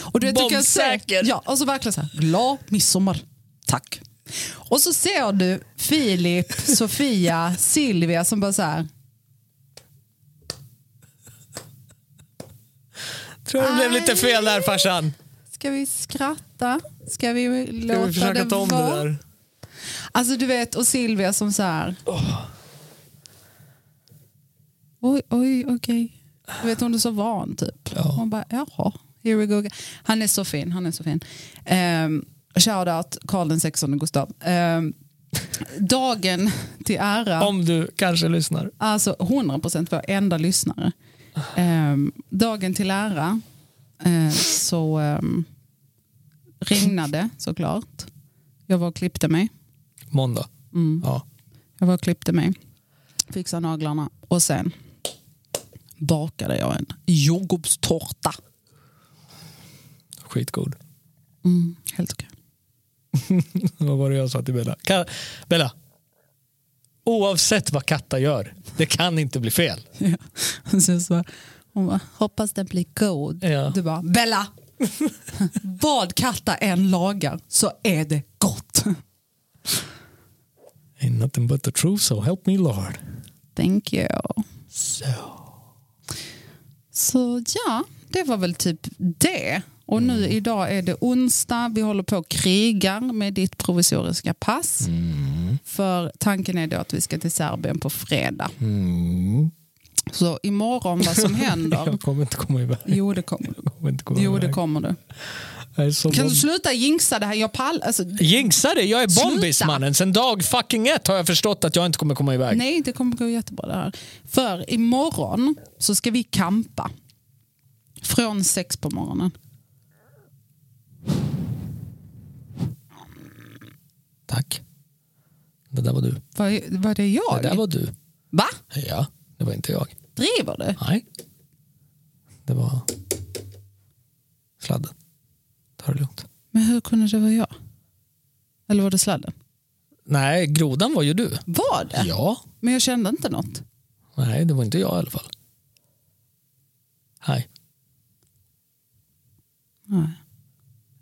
Speaker 1: Och du vet, du kan säga,
Speaker 2: Bombsäker.
Speaker 1: ja, och så verkligen så här, glad midsommar. Tack. Och så ser du Filip, Sofia, Silvia som bara så här,
Speaker 2: Tror det blev lite fel där farsan.
Speaker 1: ska vi skratta? Ska vi
Speaker 2: Ska
Speaker 1: låta
Speaker 2: vi försöka
Speaker 1: det
Speaker 2: ta om det
Speaker 1: vara?
Speaker 2: där?
Speaker 1: Alltså du vet, och Silvia som så här. Oj, oj, okej. Du vet hon är så van typ.
Speaker 2: Ja.
Speaker 1: Hon bara, jaha, here we go. again." Han är så fin, han är så fin. Ehm, Shoutout Karl den 16 Gustav. Eh, dagen till ära.
Speaker 2: Om du kanske lyssnar.
Speaker 1: Alltså 100% vår enda lyssnare. Ehm, dagen till ära eh, så ehm, regnade såklart. Jag var och klippte mig.
Speaker 2: Måndag.
Speaker 1: Mm.
Speaker 2: Ja.
Speaker 1: Jag var och klippte mig, fixade naglarna och sen bakade jag en jordgubbstårta.
Speaker 2: Skitgod.
Speaker 1: Mm, helt okej.
Speaker 2: Vad var det jag sa till Bella? Ka- Bella. Oavsett vad Katta gör, det kan inte bli fel.
Speaker 1: Och sen så, hon bara, hoppas den blir god.
Speaker 2: Ja.
Speaker 1: Du bara, Bella! Vad katta än lagar så är det gott.
Speaker 2: Ain't nothing but the truth, so help me Lord.
Speaker 1: Thank you.
Speaker 2: So.
Speaker 1: Så ja, det var väl typ det. Och
Speaker 2: Mm.
Speaker 1: nu idag är det onsdag, vi håller på och krigar med ditt provisoriska pass. För tanken är då att vi ska till Serbien på fredag.
Speaker 2: Mm.
Speaker 1: Så imorgon vad som händer.
Speaker 2: Jag kommer inte komma iväg.
Speaker 1: jo det kommer du.
Speaker 2: Jag kommer inte komma
Speaker 1: Jo
Speaker 2: iväg.
Speaker 1: det kommer du.
Speaker 2: Jag är så
Speaker 1: Kan
Speaker 2: bomb-
Speaker 1: du sluta jinxa det här? Jag pallar. Alltså,
Speaker 2: Jinxade, jag är
Speaker 1: Sluta.
Speaker 2: bombis mannen. Sen dag fucking ett har jag förstått att jag inte kommer komma iväg.
Speaker 1: nej det kommer gå jättebra det här. För imorgon så ska vi kampa. Från sex på morgonen.
Speaker 2: Tack. Det där var du.
Speaker 1: Vad var det
Speaker 2: Det där
Speaker 1: jag?
Speaker 2: var du.
Speaker 1: Va?
Speaker 2: Ja, det var inte jag.
Speaker 1: Driver du?
Speaker 2: Nej. Det var sladden. Ta det lugnt.
Speaker 1: Men hur kunde det vara jag? Eller var det sladden?
Speaker 2: Nej, grodan var ju du.
Speaker 1: Var det?
Speaker 2: Ja.
Speaker 1: Men jag kände inte något.
Speaker 2: Nej, det var inte jag i alla fall. Nej.
Speaker 1: Nej,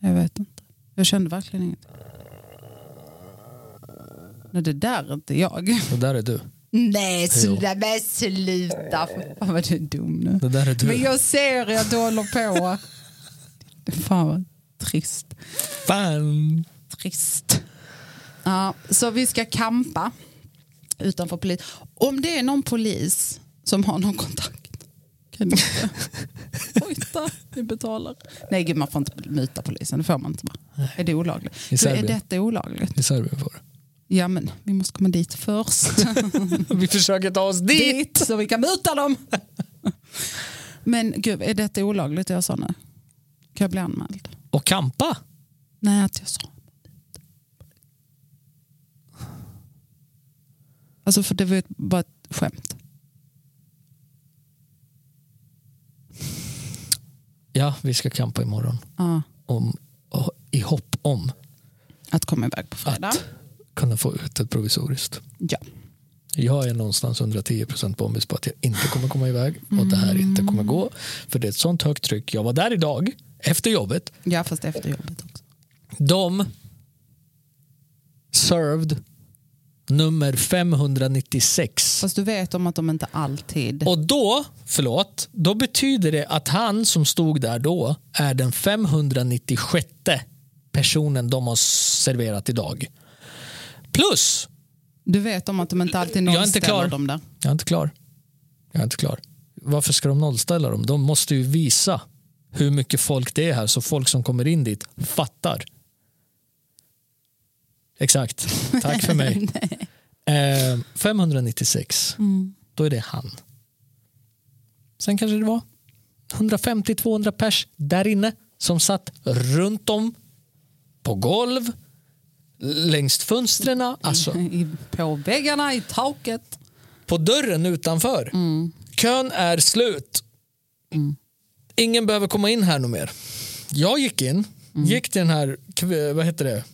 Speaker 1: jag vet inte. Jag kände verkligen inget. Nej, det där är inte jag.
Speaker 2: Det där är du.
Speaker 1: Nej, sluta. Men sluta. Fan vad du är dum nu.
Speaker 2: Det där är du.
Speaker 1: Men jag ser att du håller på. Fan vad trist.
Speaker 2: Fan.
Speaker 1: Trist. Ja, så vi ska kampa utanför polis. Om det är någon polis som har någon kontakt. Kan ni inte? Ojta, ni betalar. Nej, gud, man får inte muta polisen. Det får man inte. Bara. Är det olagligt?
Speaker 2: I
Speaker 1: Då är
Speaker 2: Serbien.
Speaker 1: detta olagligt?
Speaker 2: I Serbien får
Speaker 1: Ja, men vi måste komma dit först.
Speaker 2: det. Vi försöker ta oss dit.
Speaker 1: dit så vi kan muta dem. Men gud, är detta olagligt det jag sa nu? Kan jag bli anmäld?
Speaker 2: Och kampa.
Speaker 1: Nej, att jag sa. Alltså för det var ju ett- bara ett skämt.
Speaker 2: Ja, vi ska kampa imorgon.
Speaker 1: Ja,
Speaker 2: Om, och, I hopp om
Speaker 1: att komma iväg på fredag.
Speaker 2: att kunna få ut ett provisoriskt.
Speaker 1: Ja.
Speaker 2: Jag är någonstans 110 procent bombis på att jag inte kommer komma iväg och det här inte kommer gå. För det är ett sånt högt tryck. Jag var där idag, efter jobbet.
Speaker 1: ja, fast efter jobbet också.
Speaker 2: De served nummer 596.
Speaker 1: Fast du vet om att de inte alltid...
Speaker 2: Och då, förlåt, då betyder det att han som stod där då är den 596 personen de har serverat idag. Plus,
Speaker 1: Du vet om att de inte alltid
Speaker 2: Jag är
Speaker 1: nollställer
Speaker 2: inte klar.
Speaker 1: dem där.
Speaker 2: jag är inte klar. Jag är inte klar. Varför ska de nollställa dem? De måste ju visa hur mycket folk det är här så folk som kommer in dit fattar. Exakt. Tack för mig. eh, 596. Då är det han. Sen kanske det var 150-200 pers där inne som satt runt om på golv, längs fönstren, alltså
Speaker 1: I, på väggarna, i taket.
Speaker 2: på dörren utanför. Kön är slut. Ingen behöver komma in här nu mer. Jag gick in, gick till den här kv- vad heter det?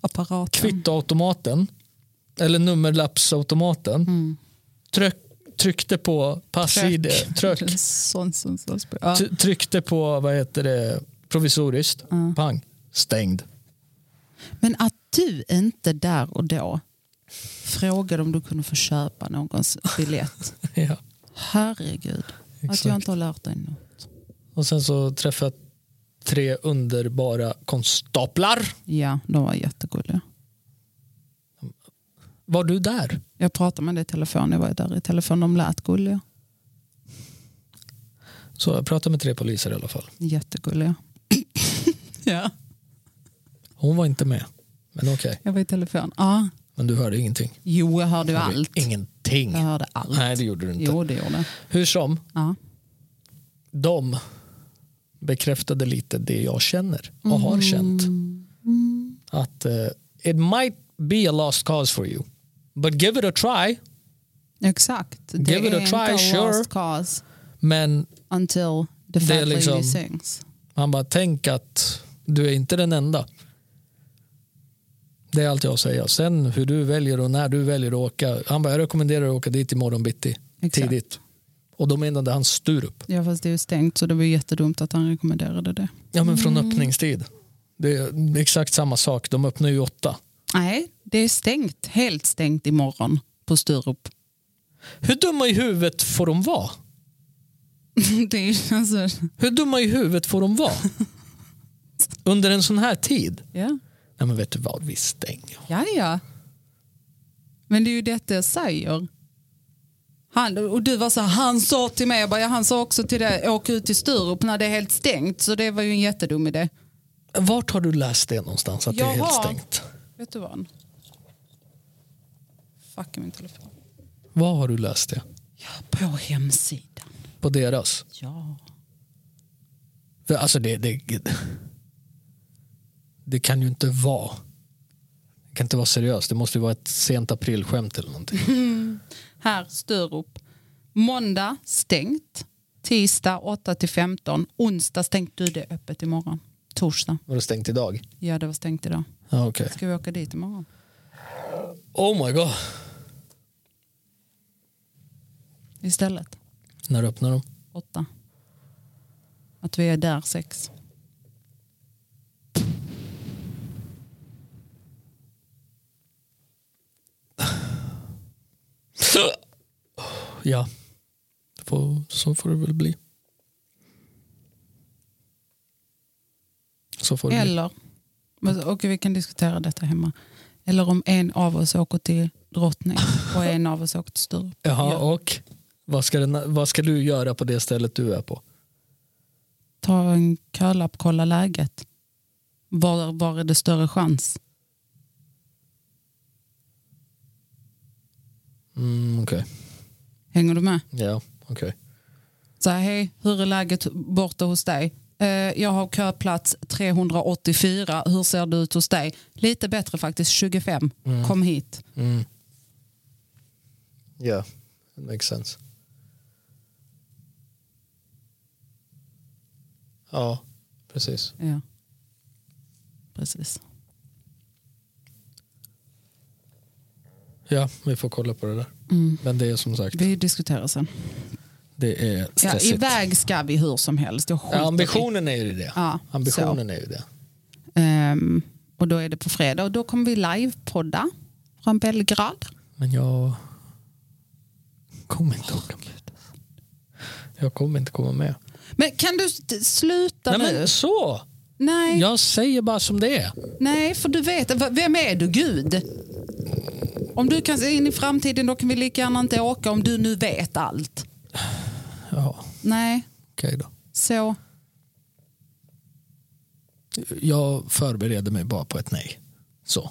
Speaker 1: Apparaten.
Speaker 2: kvittoautomaten eller nummerlappsautomaten. Tryck, tryckte på passid, tröck,
Speaker 1: Sånt som som- ja.
Speaker 2: T- tryckte på vad heter det, provisoriskt. Pang, stängd.
Speaker 1: Men att du inte där och då frågade om du kunde få köpa någons biljett.
Speaker 2: Ja.
Speaker 1: Herregud, att jag
Speaker 2: Exakt.
Speaker 1: inte har lärt dig något.
Speaker 2: Och sen så träffade jag tre underbara konstaplar.
Speaker 1: Ja, de var jättegulliga.
Speaker 2: Var du där?
Speaker 1: Jag pratade med dig i telefon, jag var ju där i telefon. De lät gulliga.
Speaker 2: Så jag pratade med tre poliser i alla fall.
Speaker 1: Jättegulliga. ja.
Speaker 2: Hon var inte med. Men okej,
Speaker 1: Jag var i telefon. Ja.
Speaker 2: men du hörde ingenting.
Speaker 1: Jo, jag hörde ju
Speaker 2: Hörde
Speaker 1: allt.
Speaker 2: Ingenting.
Speaker 1: Jag hörde allt.
Speaker 2: Nej, det gjorde du inte.
Speaker 1: Jo, det gjorde jag.
Speaker 2: Hur som,
Speaker 1: Ja.
Speaker 2: de bekräftade lite det jag känner och har
Speaker 1: Mm.
Speaker 2: känt. Att eh, it might be a lost cause for you. But give it a try.
Speaker 1: Exakt. Det
Speaker 2: Give it a
Speaker 1: är
Speaker 2: try,
Speaker 1: inte
Speaker 2: sure.
Speaker 1: lost cause
Speaker 2: Men
Speaker 1: until the
Speaker 2: är
Speaker 1: fat
Speaker 2: liksom-
Speaker 1: lady sings.
Speaker 2: han bara, tänk att du är inte den enda. Det är allt jag har att säga. Sen hur du väljer och när du väljer att åka. Han bara, jag rekommenderar dig att åka dit imorgon bitti.
Speaker 1: Exakt.
Speaker 2: Tidigt. Och då menade han Sturup.
Speaker 1: Ja, fast det är ju stängt så det var ju jättedumt att han rekommenderade det.
Speaker 2: Ja, men från öppningstid. Det är exakt samma sak. De öppnar ju åtta.
Speaker 1: Nej, det är stängt. Helt stängt imorgon på Sturup.
Speaker 2: Hur dumma i huvudet får de vara?
Speaker 1: det är ju alltså...
Speaker 2: Hur dumma i huvudet får de vara? Under en sån här tid?
Speaker 1: Ja.
Speaker 2: Nej men vet du vad, vi stänger.
Speaker 1: Ja, ja. Men det är ju detta jag säger. Han, och du var så här, han sa till mig, jag bara, ja, han sa också till dig, åk ut till Sturup när det är helt stängt. Så det var ju en jättedum idé.
Speaker 2: Vart har du läst det någonstans att det är
Speaker 1: Jaha.
Speaker 2: helt stängt?
Speaker 1: Vet du vad? Fuck min telefon.
Speaker 2: Var har du läst det?
Speaker 1: Ja, på hemsidan.
Speaker 2: På deras?
Speaker 1: Ja.
Speaker 2: För, alltså det, det, det kan ju inte vara. Det kan inte vara seriöst. Det måste ju vara ett sent aprilskämt eller någonting.
Speaker 1: Här, Sturup. Måndag stängt. Tisdag 8 till 15. Onsdag stängt. Du, det är öppet imorgon. Torsdag.
Speaker 2: Var det stängt idag?
Speaker 1: Ja, det var stängt idag.
Speaker 2: Ja, okej.
Speaker 1: Ska vi åka dit imorgon?
Speaker 2: Oh my god.
Speaker 1: Istället.
Speaker 2: När öppnar de?
Speaker 1: åtta. Att vi är där sex.
Speaker 2: Ja, Får- så får det väl bli. Så får det bli.
Speaker 1: Eller, men- och vi kan diskutera detta hemma. Eller om en av oss åker till Drottning och en av oss åker till Sturup.
Speaker 2: Jaha,
Speaker 1: Ja.
Speaker 2: och vad ska, den, vad ska du göra på det stället du är på?
Speaker 1: Ta en kölapp, kolla läget. Var, var är det större chans?
Speaker 2: Mm, okej.
Speaker 1: Hänger du med?
Speaker 2: Ja, okej.
Speaker 1: Så här, hej, hur är läget borta hos dig? Eh, jag har köplats 384. Hur ser det ut hos dig? Lite bättre faktiskt, 25. Kom hit.
Speaker 2: Mm. Ja, it makes sense. Ja, precis.
Speaker 1: Ja. Precis.
Speaker 2: Ja, vi får kolla på det där.
Speaker 1: Mm.
Speaker 2: Men det är som sagt,
Speaker 1: Vi diskuterar sen.
Speaker 2: det är
Speaker 1: Ja,
Speaker 2: stressigt.
Speaker 1: iväg ska vi hur som helst. Jag skiter
Speaker 2: Ja,
Speaker 1: i-
Speaker 2: ambitionen är ju det.
Speaker 1: Ja,
Speaker 2: Ambitionen är ju det.
Speaker 1: så. Ehm, och då är det på fredag och då kommer vi livepodda från Belgrad.
Speaker 2: Men jag kommer inte åka med. Jag kommer inte komma med.
Speaker 1: Men kan du st- sluta
Speaker 2: Nej
Speaker 1: nu?
Speaker 2: men så!
Speaker 1: Nej,
Speaker 2: Jag säger bara som det är.
Speaker 1: nej, för du vet, v- vem är du Gud? Om du kan se in i framtiden då kan vi lika gärna inte åka om du nu vet allt.
Speaker 2: Ja,
Speaker 1: Nej,
Speaker 2: okej då.
Speaker 1: så.
Speaker 2: Jag förbereder mig bara på ett nej. Så.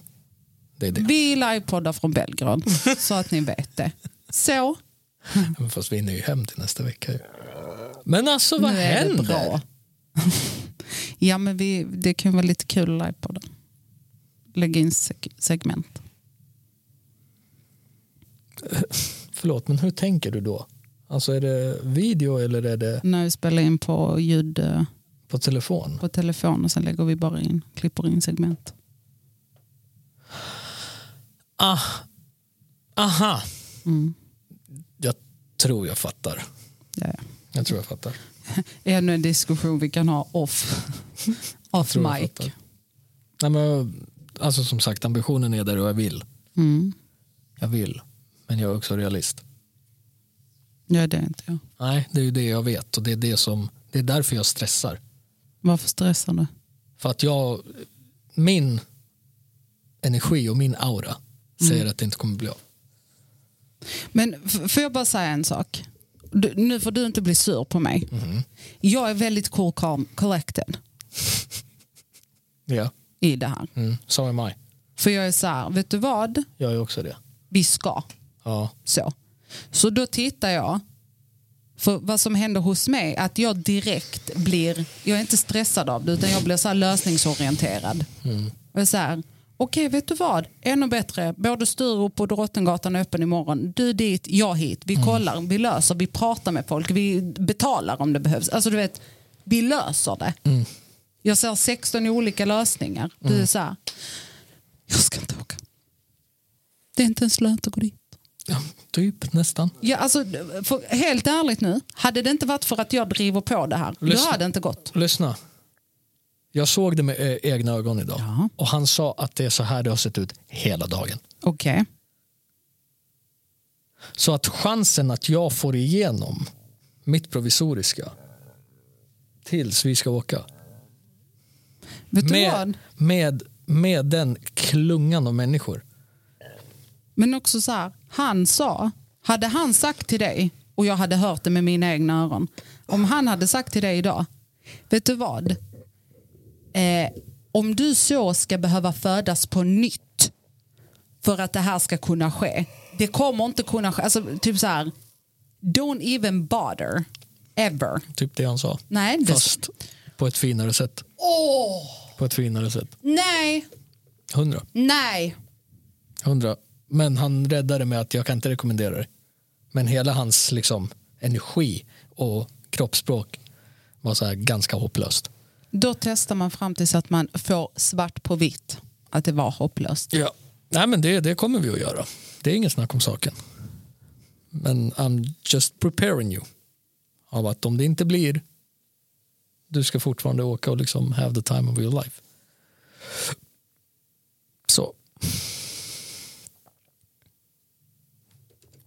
Speaker 2: Det är det.
Speaker 1: Vi livepoddar från Belgrad så att ni vet det. Så, Mm.
Speaker 2: Men fast vi hinner ju hem till nästa vecka. Ju. Men alltså vad
Speaker 1: nu är det
Speaker 2: händer?
Speaker 1: bra. ja, men vi, det kan vara lite kul att livepodda. Lägga in seg- segment.
Speaker 2: Förlåt, men hur tänker du då? Alltså är det video eller är det
Speaker 1: när vi spelar in på ljud eh,
Speaker 2: på telefon?
Speaker 1: på telefon och sen lägger vi bara in, klipper in segment.
Speaker 2: Ah. Aha,
Speaker 1: Mm.
Speaker 2: jag tror jag fattar.
Speaker 1: Ja, ja.
Speaker 2: Jag tror jag fattar.
Speaker 1: Ännu en diskussion vi kan ha off, off
Speaker 2: Tror jag
Speaker 1: mic.
Speaker 2: fattar. Nej, men, alltså som sagt, ambitionen är där och jag vill.
Speaker 1: Mm.
Speaker 2: Jag vill, men jag är också realist.
Speaker 1: Ja, det är inte jag.
Speaker 2: Nej, det är ju det jag vet och det är, det som, det är därför jag stressar.
Speaker 1: Varför stressar du?
Speaker 2: För att jag, min energi och min aura säger att det inte kommer bli av.
Speaker 1: Men f- får jag bara säga en sak? Du, nu får du inte bli sur på mig. Jag är väldigt cool, calm, collected.
Speaker 2: Ja.
Speaker 1: i det här.
Speaker 2: Mm, som är mig.
Speaker 1: För jag är så här, vet du vad?
Speaker 2: Jag är också det.
Speaker 1: Vi ska.
Speaker 2: Ja.
Speaker 1: Så. Så då tittar jag. För vad som händer hos mig att jag direkt blir, jag är inte stressad av det utan jag blir så här lösningsorienterad. Och jag är så här, okej vet du vad, ännu bättre, både Sturup och Drottninggatan är öppen imorgon. Du dit, jag hit. Vi kollar, vi löser, vi pratar med folk, vi betalar om det behövs. Alltså du vet, vi löser det. Jag ser 16 olika lösningar. Du är så här, jag ska inte åka. Det är inte ens lönt att gå dit.
Speaker 2: ja typ nästan.
Speaker 1: Ja, alltså, för, helt ärligt nu, hade det inte varit för att jag driver på det här,
Speaker 2: Lyssna.
Speaker 1: då hade det inte gått.
Speaker 2: Lyssna. Jag såg det med eh, egna ögon idag.
Speaker 1: Ja.
Speaker 2: Och han sa att det är så här det har sett ut hela dagen.
Speaker 1: Okej.
Speaker 2: Så att chansen att jag får igenom mitt provisoriska tills vi ska åka
Speaker 1: Vet du
Speaker 2: med,
Speaker 1: vad?
Speaker 2: med, med den klungan av människor.
Speaker 1: Men också så här, han sa, hade han sagt till dig, och jag hade hört det med mina egna öron, om han hade sagt till dig idag, vet du vad? Eh, om du så ska behöva födas på nytt för att det här ska kunna ske, det kommer inte kunna ske, alltså typ så här, don't even bother, ever.
Speaker 2: Typ det han sa.
Speaker 1: Nej, det,
Speaker 2: Fast på ett finare sätt. På ett finare sätt.
Speaker 1: nej,
Speaker 2: Hundra.
Speaker 1: Nej.
Speaker 2: Hundra. Men han räddade med att jag kan inte rekommendera det. Men hela hans liksom, energi och kroppsspråk var så här ganska hopplöst.
Speaker 1: Då testar man fram tills att man får svart på vitt att det var hopplöst.
Speaker 2: Ja. Nej, men det, det kommer vi att göra. Det är inget snack om saken. Men I'm just preparing you. Av att om det inte blir, du ska fortfarande åka och liksom have the time of your life. Så.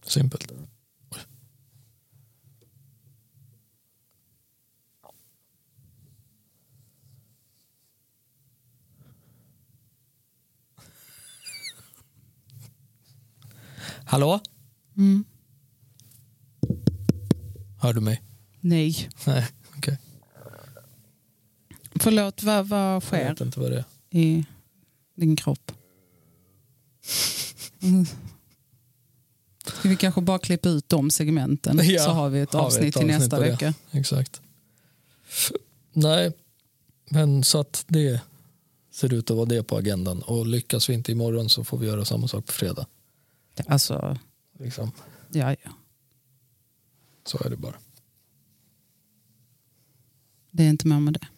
Speaker 2: Simpelt. Hallå? Hör du mig?
Speaker 1: Nej.
Speaker 2: Nej, okej.
Speaker 1: Förlåt, vad, vad
Speaker 2: Jag
Speaker 1: sker
Speaker 2: vet inte vad det är.
Speaker 1: i din kropp? Mm. Ska vi kanske bara klippa ut de segmenten
Speaker 2: Ja,
Speaker 1: så har vi ett
Speaker 2: har vi ett
Speaker 1: avsnitt till
Speaker 2: avsnitt
Speaker 1: nästa
Speaker 2: av det.
Speaker 1: vecka.
Speaker 2: Exakt. Nej, men så att det ser ut att vara det på agendan. Och lyckas vi inte imorgon så får vi göra samma sak på fredag.
Speaker 1: Alltså,
Speaker 2: Liksom.
Speaker 1: ja, ja.
Speaker 2: Så är det bara.
Speaker 1: Det är inte mer med det.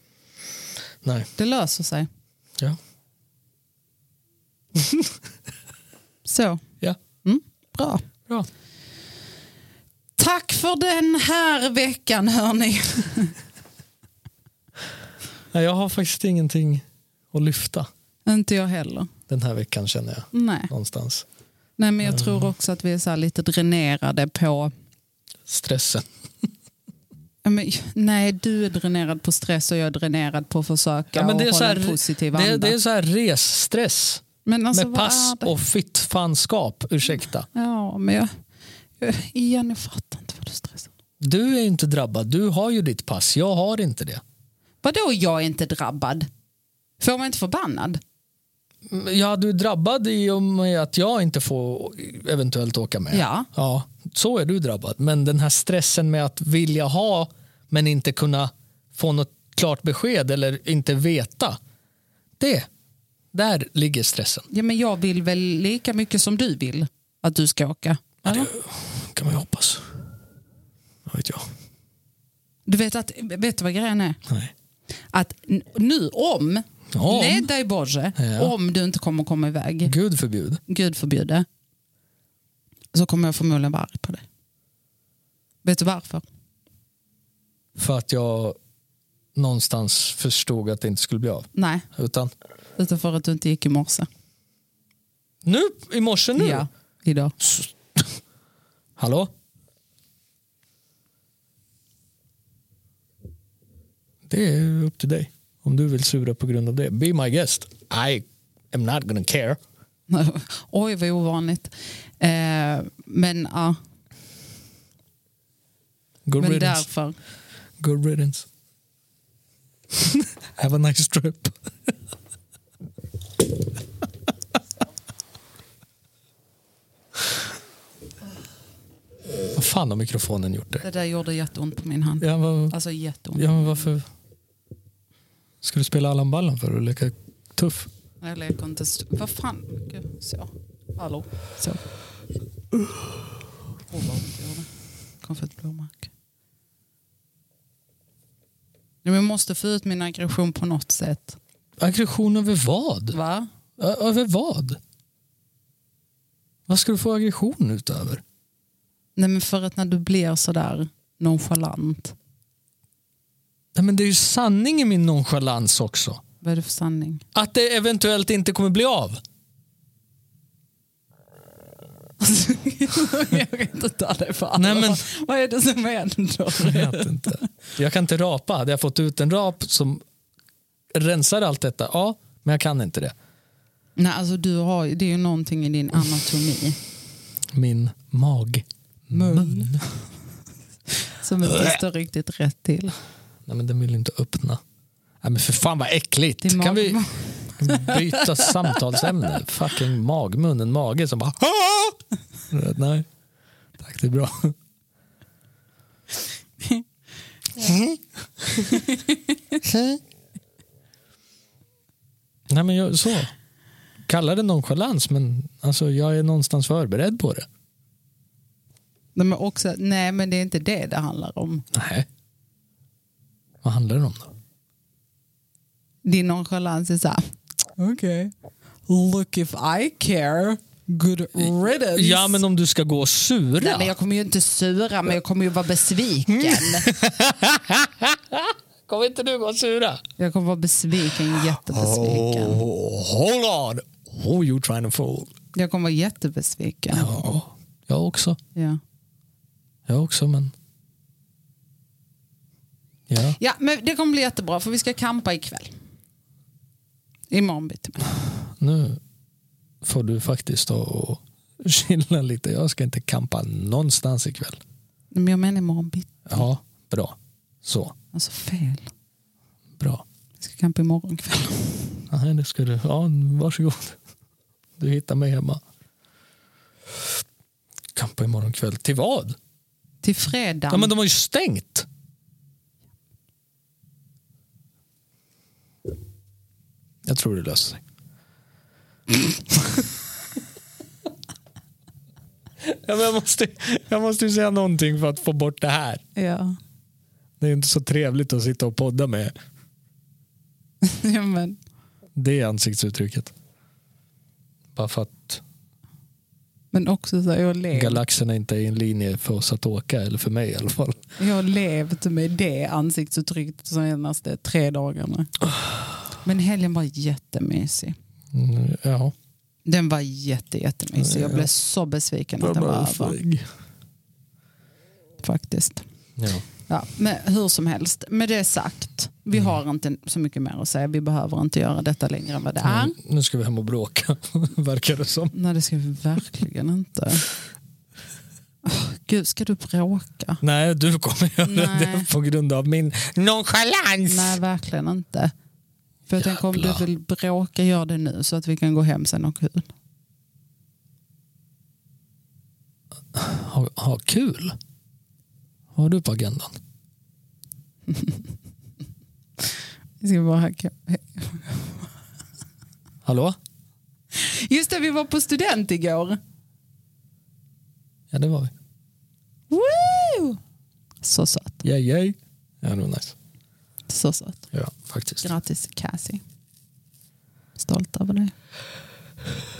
Speaker 2: Nej,
Speaker 1: Det löser sig.
Speaker 2: ja.
Speaker 1: Så, Mm,
Speaker 2: ja.
Speaker 1: bra.
Speaker 2: Bra.
Speaker 1: Tack för den här veckan hörni.
Speaker 2: Nej, jag har faktiskt ingenting att lyfta
Speaker 1: inte jag heller.
Speaker 2: den här veckan känner jag.
Speaker 1: Nej.
Speaker 2: Någonstans.
Speaker 1: Nej, men jag tror också att vi är så här lite dränerade på...
Speaker 2: Stressen.
Speaker 1: Ja, men, Nej, du är dränerad på stress och jag är dränerad på att försöka
Speaker 2: Ja, men det är
Speaker 1: och
Speaker 2: så
Speaker 1: hålla
Speaker 2: här,
Speaker 1: en positiv
Speaker 2: det,
Speaker 1: anda.
Speaker 2: är- det är så här resstress
Speaker 1: men alltså,
Speaker 2: med
Speaker 1: vad
Speaker 2: pass
Speaker 1: är det?
Speaker 2: och fittfanskap. Ursäkta.
Speaker 1: Ja, men jag... jag- Igen, jag fattar inte vad du stressar.
Speaker 2: Du är inte drabbad. Du har ju ditt pass. Jag har inte det.
Speaker 1: Vadå jag är inte drabbad? Får man inte förbannad?
Speaker 2: Ja, du är drabbad i och med att jag inte får eventuellt åka med.
Speaker 1: Ja.
Speaker 2: ja. Så är du drabbad. Men den här stressen med att vilja ha men inte kunna få något klart besked eller inte veta. Det, där ligger stressen.
Speaker 1: Ja, men jag vill väl lika mycket som du vill att du ska åka. Eller?
Speaker 2: kan man ju hoppas. Vad vet jag.
Speaker 1: Du vet, att, vet du vad grejen är?
Speaker 2: Nej.
Speaker 1: Att n- nu om,
Speaker 2: Om.
Speaker 1: nej dig Borge,
Speaker 2: Ja.
Speaker 1: om du inte kommer komma iväg.
Speaker 2: Gud förbjud.
Speaker 1: Gud förbjude, så kommer jag förmodligen vara arg på dig. Vet du varför?
Speaker 2: För att jag någonstans förstod att det inte skulle bli av.
Speaker 1: Nej,
Speaker 2: Utan
Speaker 1: utan för att du inte gick i morse.
Speaker 2: nu i morse nu.
Speaker 1: Ja, idag.
Speaker 2: Hallå? Det är upp till dig. Om du vill sura på grund av det. Be my guest. I am not gonna care.
Speaker 1: Oj, vad ovanligt. Eh, men ja,
Speaker 2: Good
Speaker 1: men
Speaker 2: riddance.
Speaker 1: därför.
Speaker 2: Good riddance. Have a nice trip. fan har mikrofonen gjort det?
Speaker 1: Det där gjorde jätteont på min hand.
Speaker 2: Ja, vad,
Speaker 1: Alltså jätteont.
Speaker 2: ja, men varför? Ska du spela Allan Ballan för att leka tuff?
Speaker 1: Jag leker inte... st- Vad fan? Gud, Så. Hallå. Så. Uh. Oh, vad ont det gjorde. kom för ett blåmärke. Ja, men Jag måste få ut min aggression på något sätt.
Speaker 2: Aggression över vad?
Speaker 1: Va?
Speaker 2: Ö- Över vad? Vad ska du få aggression utöver?
Speaker 1: Nej, men för att när du blir sådär nonchalant.
Speaker 2: Nej, men det är ju sanning i min nonchalans också.
Speaker 1: Vad är det för sanning?
Speaker 2: Att det eventuellt inte kommer bli av.
Speaker 1: Alltså, jag kan inte ta det på allvar.
Speaker 2: Nej, men-
Speaker 1: Vad är det som händer?
Speaker 2: Jag vet inte. Jag kan inte rapa. Hade jag fått ut en rap som rensar allt detta, ja, men jag kan inte det.
Speaker 1: Nej, alltså, du har, ju- det är ju någonting i din anatomi.
Speaker 2: Min mag.
Speaker 1: Mun. Som inte står riktigt rätt till.
Speaker 2: Nej, men den vill inte öppna. Nej, men för fan vad äckligt.
Speaker 1: Din
Speaker 2: Kan
Speaker 1: mag-
Speaker 2: vi byta samtalsämne? Fucking magmun, en mage som bara... Nej, tack det är bra. Nej, men jag, så. Kalla det nonchalans, men alltså, jag är någonstans förberedd på det.
Speaker 1: Nej men, också, nej, men det är inte det det handlar om.
Speaker 2: Nej. Vad handlar det om då?
Speaker 1: Din nonchalans är så här. Okej. Look if I care. Good riddance.
Speaker 2: Ja, men om du ska gå och sura.
Speaker 1: nej, men jag kommer ju inte sura, men jag kommer ju vara besviken.
Speaker 2: Mm. Kom inte du gå och sura?
Speaker 1: Jag kommer vara besviken, jättebesviken.
Speaker 2: hold on! Who you trying to fool?
Speaker 1: Jag kommer vara jättebesviken.
Speaker 2: Ja, jag också.
Speaker 1: Ja.
Speaker 2: Jag också, men... Ja.
Speaker 1: ja, men det kommer bli jättebra för vi ska kampa ikväll. Imorgon bitti.
Speaker 2: nu får du faktiskt ta och chilla lite. Jag ska inte kampa någonstans ikväll.
Speaker 1: Nej, Men jag menar imorgon bitti.
Speaker 2: Ja, bra. Så,
Speaker 1: Alltså fel.
Speaker 2: bra.
Speaker 1: Vi ska kampa imorgon kväll.
Speaker 2: Nej, det ska du. Ja, varsågod. Du hittar mig hemma. Kampa imorgon kväll. Till vad?
Speaker 1: Till fredag.
Speaker 2: Ja, men de har ju stängt. Jag tror det löser sig. ja, men jag, måste, jag måste ju säga någonting för att få bort det här.
Speaker 1: Ja.
Speaker 2: Det är ju inte så trevligt att sitta och podda med
Speaker 1: ja, men.
Speaker 2: det ansiktsuttrycket. Bara för att
Speaker 1: men också så här, jag lever.
Speaker 2: galaxerna inte är i en linje för oss att åka, eller för mig i alla fall.
Speaker 1: Jag har levt med det ansiktsuttrycket de senaste tre dagarna. Men helgen var jättemysig.
Speaker 2: Mm, ja.
Speaker 1: Den var jätte, jättemysig. Jag blev så besviken att den var över. Faktiskt.
Speaker 2: Ja.
Speaker 1: Ja, men hur som helst, med det sagt. Vi har inte så mycket mer att säga. Vi behöver inte göra detta längre än vad det är.
Speaker 2: Mm, Nu ska vi hem och bråka, verkar det som.
Speaker 1: Nej, det ska vi verkligen inte. Åh, Gud, ska du bråka?
Speaker 2: Nej, du kommer göra
Speaker 1: Nej.
Speaker 2: det på grund av min nonchalans.
Speaker 1: Nej, verkligen inte. För jag tänker om du
Speaker 2: Jävlar.
Speaker 1: vill bråka, gör det nu så att vi kan gå hem sen och ha kul.
Speaker 2: Ha, ha kul. Vad har du på agendan?
Speaker 1: Vi ska bara ha kul.
Speaker 2: Hallå?
Speaker 1: Just det, vi var på student igår.
Speaker 2: Ja, det var vi.
Speaker 1: Woo! Så söt.
Speaker 2: Yay, yay. Ja, det var nice.
Speaker 1: Så söt.
Speaker 2: Ja, faktiskt.
Speaker 1: Grattis Cassie. Stolt över dig.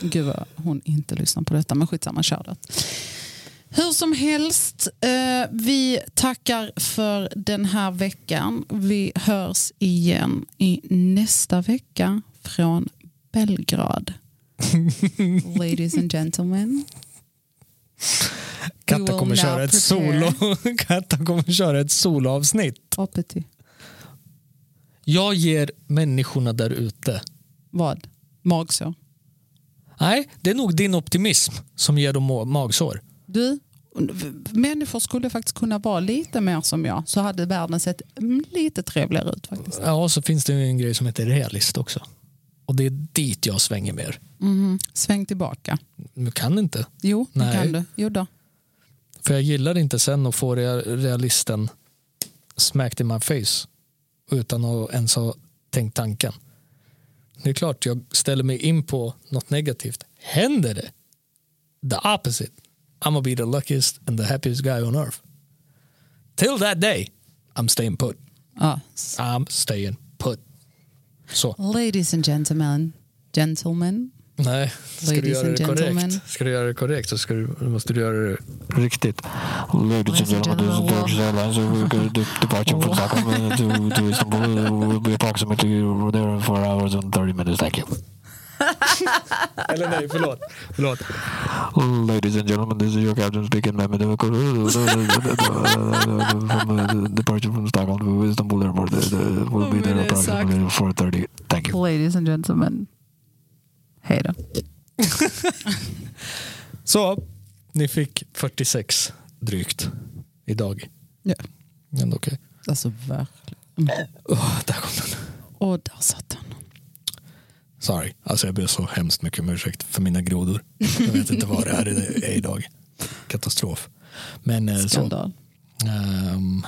Speaker 1: Gud vad hon inte lyssnar på detta, men skitsamma, kör det. Hur som helst, eh, vi tackar för den här veckan. Vi hörs igen i nästa vecka från Belgrad. Ladies and gentlemen. We
Speaker 2: Katta
Speaker 1: will
Speaker 2: kommer
Speaker 1: now
Speaker 2: köra ett
Speaker 1: prepare.
Speaker 2: solo. Katta kommer köra ett soloavsnitt.
Speaker 1: Hoppety.
Speaker 2: Jag ger människorna där ute.
Speaker 1: Vad? Magsår.
Speaker 2: Nej, det är nog din optimism som ger dem ma- magsår.
Speaker 1: Du, människor skulle faktiskt kunna vara lite mer som jag så hade världen sett mm, lite trevligare ut faktiskt.
Speaker 2: Ja, och så finns det ju en grej som heter realist också. Och det är dit jag svänger mer.
Speaker 1: Sväng tillbaka.
Speaker 2: Du kan inte.
Speaker 1: Jo, det
Speaker 2: Mm-hmm. Nej.
Speaker 1: kan du. Jo då.
Speaker 2: För jag gillade inte sen att få rea- realisten smacked in my face utan att ens ha tänkt tanken. Det är klart jag ställer mig in på något negativt. Händer det? The opposite. I'm gonna be the luckiest and the happiest guy on earth. Till that day, I'm staying put.
Speaker 1: Ja.
Speaker 2: I'm staying put. Så.
Speaker 1: Ladies and gentlemen. Gentlemen.
Speaker 2: Nej, ska du
Speaker 1: Ladies
Speaker 2: göra
Speaker 1: and
Speaker 2: det
Speaker 1: gentlemen.
Speaker 2: korrekt ska du göra det korrekt så ska du, måste du göra det riktigt.
Speaker 3: Ladies and gentlemen, this is Turkish Airlines. We're going to departure from Stockholm uh, to, to Istanbul. We'll be approximately there for hours and 30 minutes. Thank you.
Speaker 2: Eller nej, förlåt. förlåt.
Speaker 3: Ladies and gentlemen, this is your captain speaking. I'm from uh, departure from Stockholm to Istanbul airport. Uh, uh, We'll be there approximately 4.30. Thank you.
Speaker 1: Ladies and gentlemen. Hej då.
Speaker 2: Så, ni fick 46 drygt idag.
Speaker 1: Ja.
Speaker 2: Ändå okej.
Speaker 1: Alltså verkligen.
Speaker 2: Mm. Åh, där kom den.
Speaker 1: Och där satt den.
Speaker 2: Sorry, alltså jag ber så hemskt mycket om ursäkt för mina grodor. Jag vet inte vad det här är är idag. Katastrof. Men eh, så.
Speaker 1: Skandal.
Speaker 2: Ehm.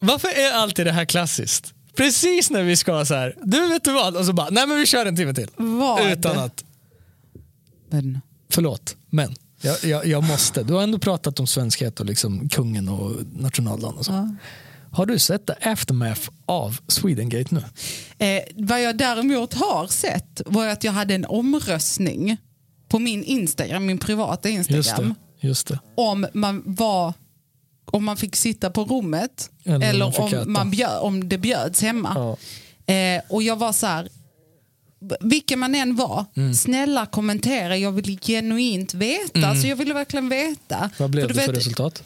Speaker 2: Varför är alltid det här klassiskt? Precis när vi ska så här, du vet du vad, och så bara, nej men vi kör en timme till.
Speaker 1: Vad?
Speaker 2: Utan att,
Speaker 1: Men,
Speaker 2: förlåt, men jag, jag, jag måste. Du har ändå pratat om svenskhet och liksom kungen och nationaldagen och så. Har du sett the aftermath av Swedengate nu?
Speaker 1: eh, vad jag däremot har sett var att jag hade en omröstning på min Instagram, min privata
Speaker 2: Just
Speaker 1: Instagram.
Speaker 2: det. Just det.
Speaker 1: om man var om man fick sitta på rummet
Speaker 2: Eller om
Speaker 1: eller,
Speaker 2: man fick äta.
Speaker 1: om, man bjöd, om det bjöds hemma. Eh, och jag var så här, vilken man än var,
Speaker 2: Mm.
Speaker 1: snälla kommentera, jag vill genuint veta. Så jag ville verkligen veta.
Speaker 2: Vad blev
Speaker 1: du
Speaker 2: det för
Speaker 1: vet,
Speaker 2: resultat?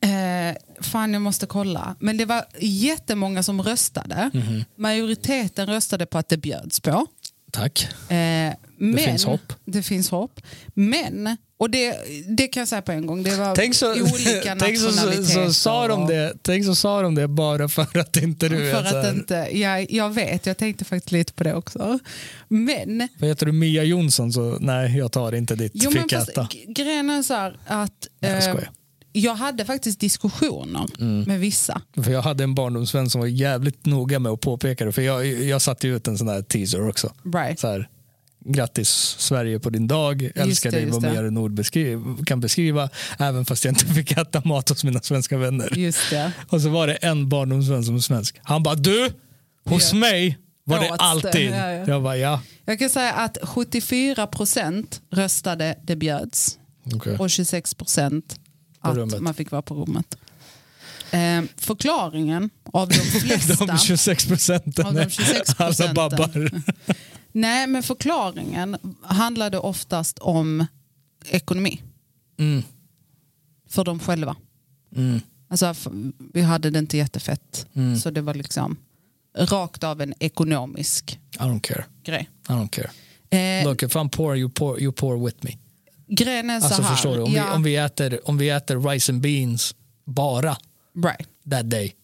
Speaker 1: Eh, fan, jag måste kolla. Men det var jättemånga som röstade.
Speaker 2: Mhm.
Speaker 1: Majoriteten röstade på att det bjöds på.
Speaker 2: Tack.
Speaker 1: Eh, men,
Speaker 2: finns hopp.
Speaker 1: Det finns hopp. Men, och det, det kan jag säga på en gång, det var
Speaker 2: Tänk så,
Speaker 1: olika
Speaker 2: tänk så, så,
Speaker 1: nationaliteter
Speaker 2: så sa de
Speaker 1: och-
Speaker 2: det, tänk så sa de det bara för att inte du är
Speaker 1: För
Speaker 2: så här-
Speaker 1: att inte, jag, jag vet, jag tänkte faktiskt lite på det också. Men,
Speaker 2: Vad heter du Mia Jonsson så nej jag tar inte ditt
Speaker 1: jo, men
Speaker 2: fick
Speaker 1: fast,
Speaker 2: äta.
Speaker 1: g- grejen är så här att
Speaker 2: Nej, jag
Speaker 1: eh,
Speaker 2: skojar. Mm.
Speaker 1: jag hade faktiskt diskussioner med vissa.
Speaker 2: För jag hade en barndomsvän som var jävligt noga med att påpeka det för jag, jag satte ju ut en sån där teaser också.
Speaker 1: Right.
Speaker 2: Så här, grattis Sverige på din dag, älskar
Speaker 1: det,
Speaker 2: dig
Speaker 1: just
Speaker 2: vad
Speaker 1: det.
Speaker 2: mer än ord beskri- kan beskriva även fast jag inte fick äta mat hos mina svenska vänner.
Speaker 1: Just det.
Speaker 2: Och så var det en barndomsvän som var svensk. Han bara du, hos
Speaker 1: Ja.
Speaker 2: mig var det
Speaker 1: Åts det.
Speaker 2: alltid.
Speaker 1: Ja, ja.
Speaker 2: Jag bara ja.
Speaker 1: Jag kan säga att 74 procent röstade det bjöds
Speaker 2: Okay.
Speaker 1: och 26 procent att
Speaker 2: rummet.
Speaker 1: man fick vara på rummet. Eh, förklaringen av de flesta...
Speaker 2: De 26 procenten
Speaker 1: Av de 26
Speaker 2: är alla
Speaker 1: procenten.
Speaker 2: babbar.
Speaker 1: Nej, men förklaringen handlade oftast om ekonomi.
Speaker 2: Mm,
Speaker 1: För dem själva. Alltså, f- vi hade det inte jättefett.
Speaker 2: Mm.
Speaker 1: Så det var liksom rakt av en ekonomisk
Speaker 2: I don't care.
Speaker 1: grej.
Speaker 2: I don't care.
Speaker 1: Eh,
Speaker 2: Look, if I'm poor you poor, you poor with me.
Speaker 1: grejen är
Speaker 2: Alltså
Speaker 1: så här.
Speaker 2: förstår du, om, vi, om, vi äter, om vi äter rice and beans bara
Speaker 1: right.
Speaker 2: that day,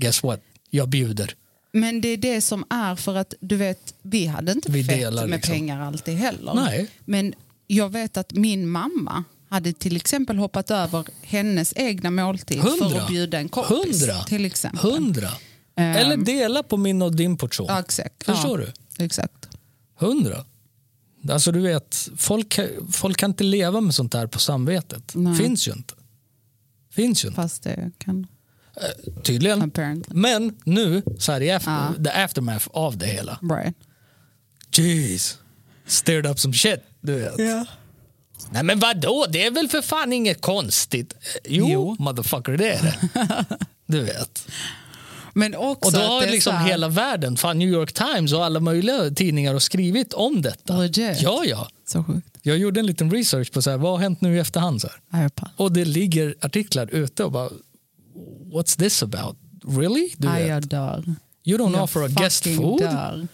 Speaker 2: guess what? Jag bjuder.
Speaker 1: Men det är det som är för att du vet, vi hade inte
Speaker 2: Vi
Speaker 1: fett
Speaker 2: delar
Speaker 1: med
Speaker 2: liksom.
Speaker 1: pengar alltid heller.
Speaker 2: Nej.
Speaker 1: Men jag vet att min mamma hade till exempel hoppat över hennes egna måltid för att bjuda en kompis.
Speaker 2: Hundra.
Speaker 1: Till exempel.
Speaker 2: Hundra. Eller dela på min och din portion.
Speaker 1: Ehm. Ja, exakt.
Speaker 2: Förstår
Speaker 1: ja, du? Exakt.
Speaker 2: Hundra. Alltså du vet, folk, folk kan inte leva med sånt här på samvetet.
Speaker 1: Nej.
Speaker 2: Finns ju inte. Finns ju inte.
Speaker 1: Fast det kan...
Speaker 2: Tydligen.
Speaker 1: Apparently.
Speaker 2: Men nu, så här i efter, the aftermath av det hela.
Speaker 1: Brian.
Speaker 2: Jeez. Stirred up some shit, du vet. Nej men vadå, det är väl för fan inget konstigt. Eh, Jo,
Speaker 1: Jo.
Speaker 2: motherfucker det är det. Du vet.
Speaker 1: Men också
Speaker 2: Och då
Speaker 1: att
Speaker 2: har
Speaker 1: det är
Speaker 2: liksom
Speaker 1: så här-
Speaker 2: hela världen, fan New York Times och alla möjliga tidningar har skrivit om detta.
Speaker 1: Legit.
Speaker 2: Ja, ja.
Speaker 1: Så sjukt.
Speaker 2: Jag gjorde en liten research på så här, vad har hänt nu i efterhand. Så här.
Speaker 1: Ja, jag pallar.
Speaker 2: Och det ligger artiklar ute och bara, what's this about? Really? Du
Speaker 1: Ah, Ja,
Speaker 2: vet.
Speaker 1: jag dör.
Speaker 2: You don't
Speaker 1: jag
Speaker 2: offer a guest
Speaker 1: fucking
Speaker 2: food?
Speaker 1: Dör.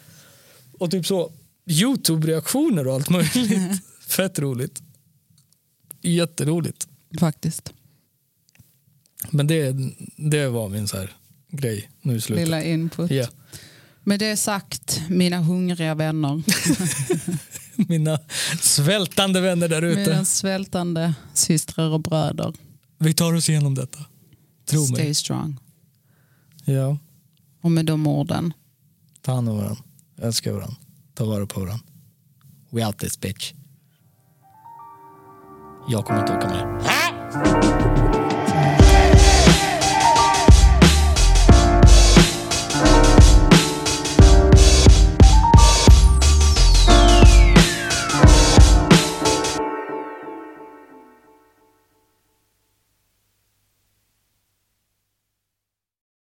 Speaker 2: Och typ så Youtube-reaktioner och allt möjligt. Fett roligt. Jätteroligt.
Speaker 1: Faktiskt.
Speaker 2: Men det, det var min så här grej nu i slutet.
Speaker 1: Lilla input.
Speaker 2: Ja.
Speaker 1: Med det sagt, mina hungriga vänner.
Speaker 2: mina svältande vänner där ute.
Speaker 1: Mina svältande systrar och bröder.
Speaker 2: Vi tar oss igenom detta. Tro
Speaker 1: Stay
Speaker 2: mig.
Speaker 1: strong.
Speaker 2: Ja.
Speaker 1: Och med de orden.
Speaker 2: Ta hand om varandra. Älska varandra. Ta vara på varandra. We out this bitch. Jag kommer inte åka med.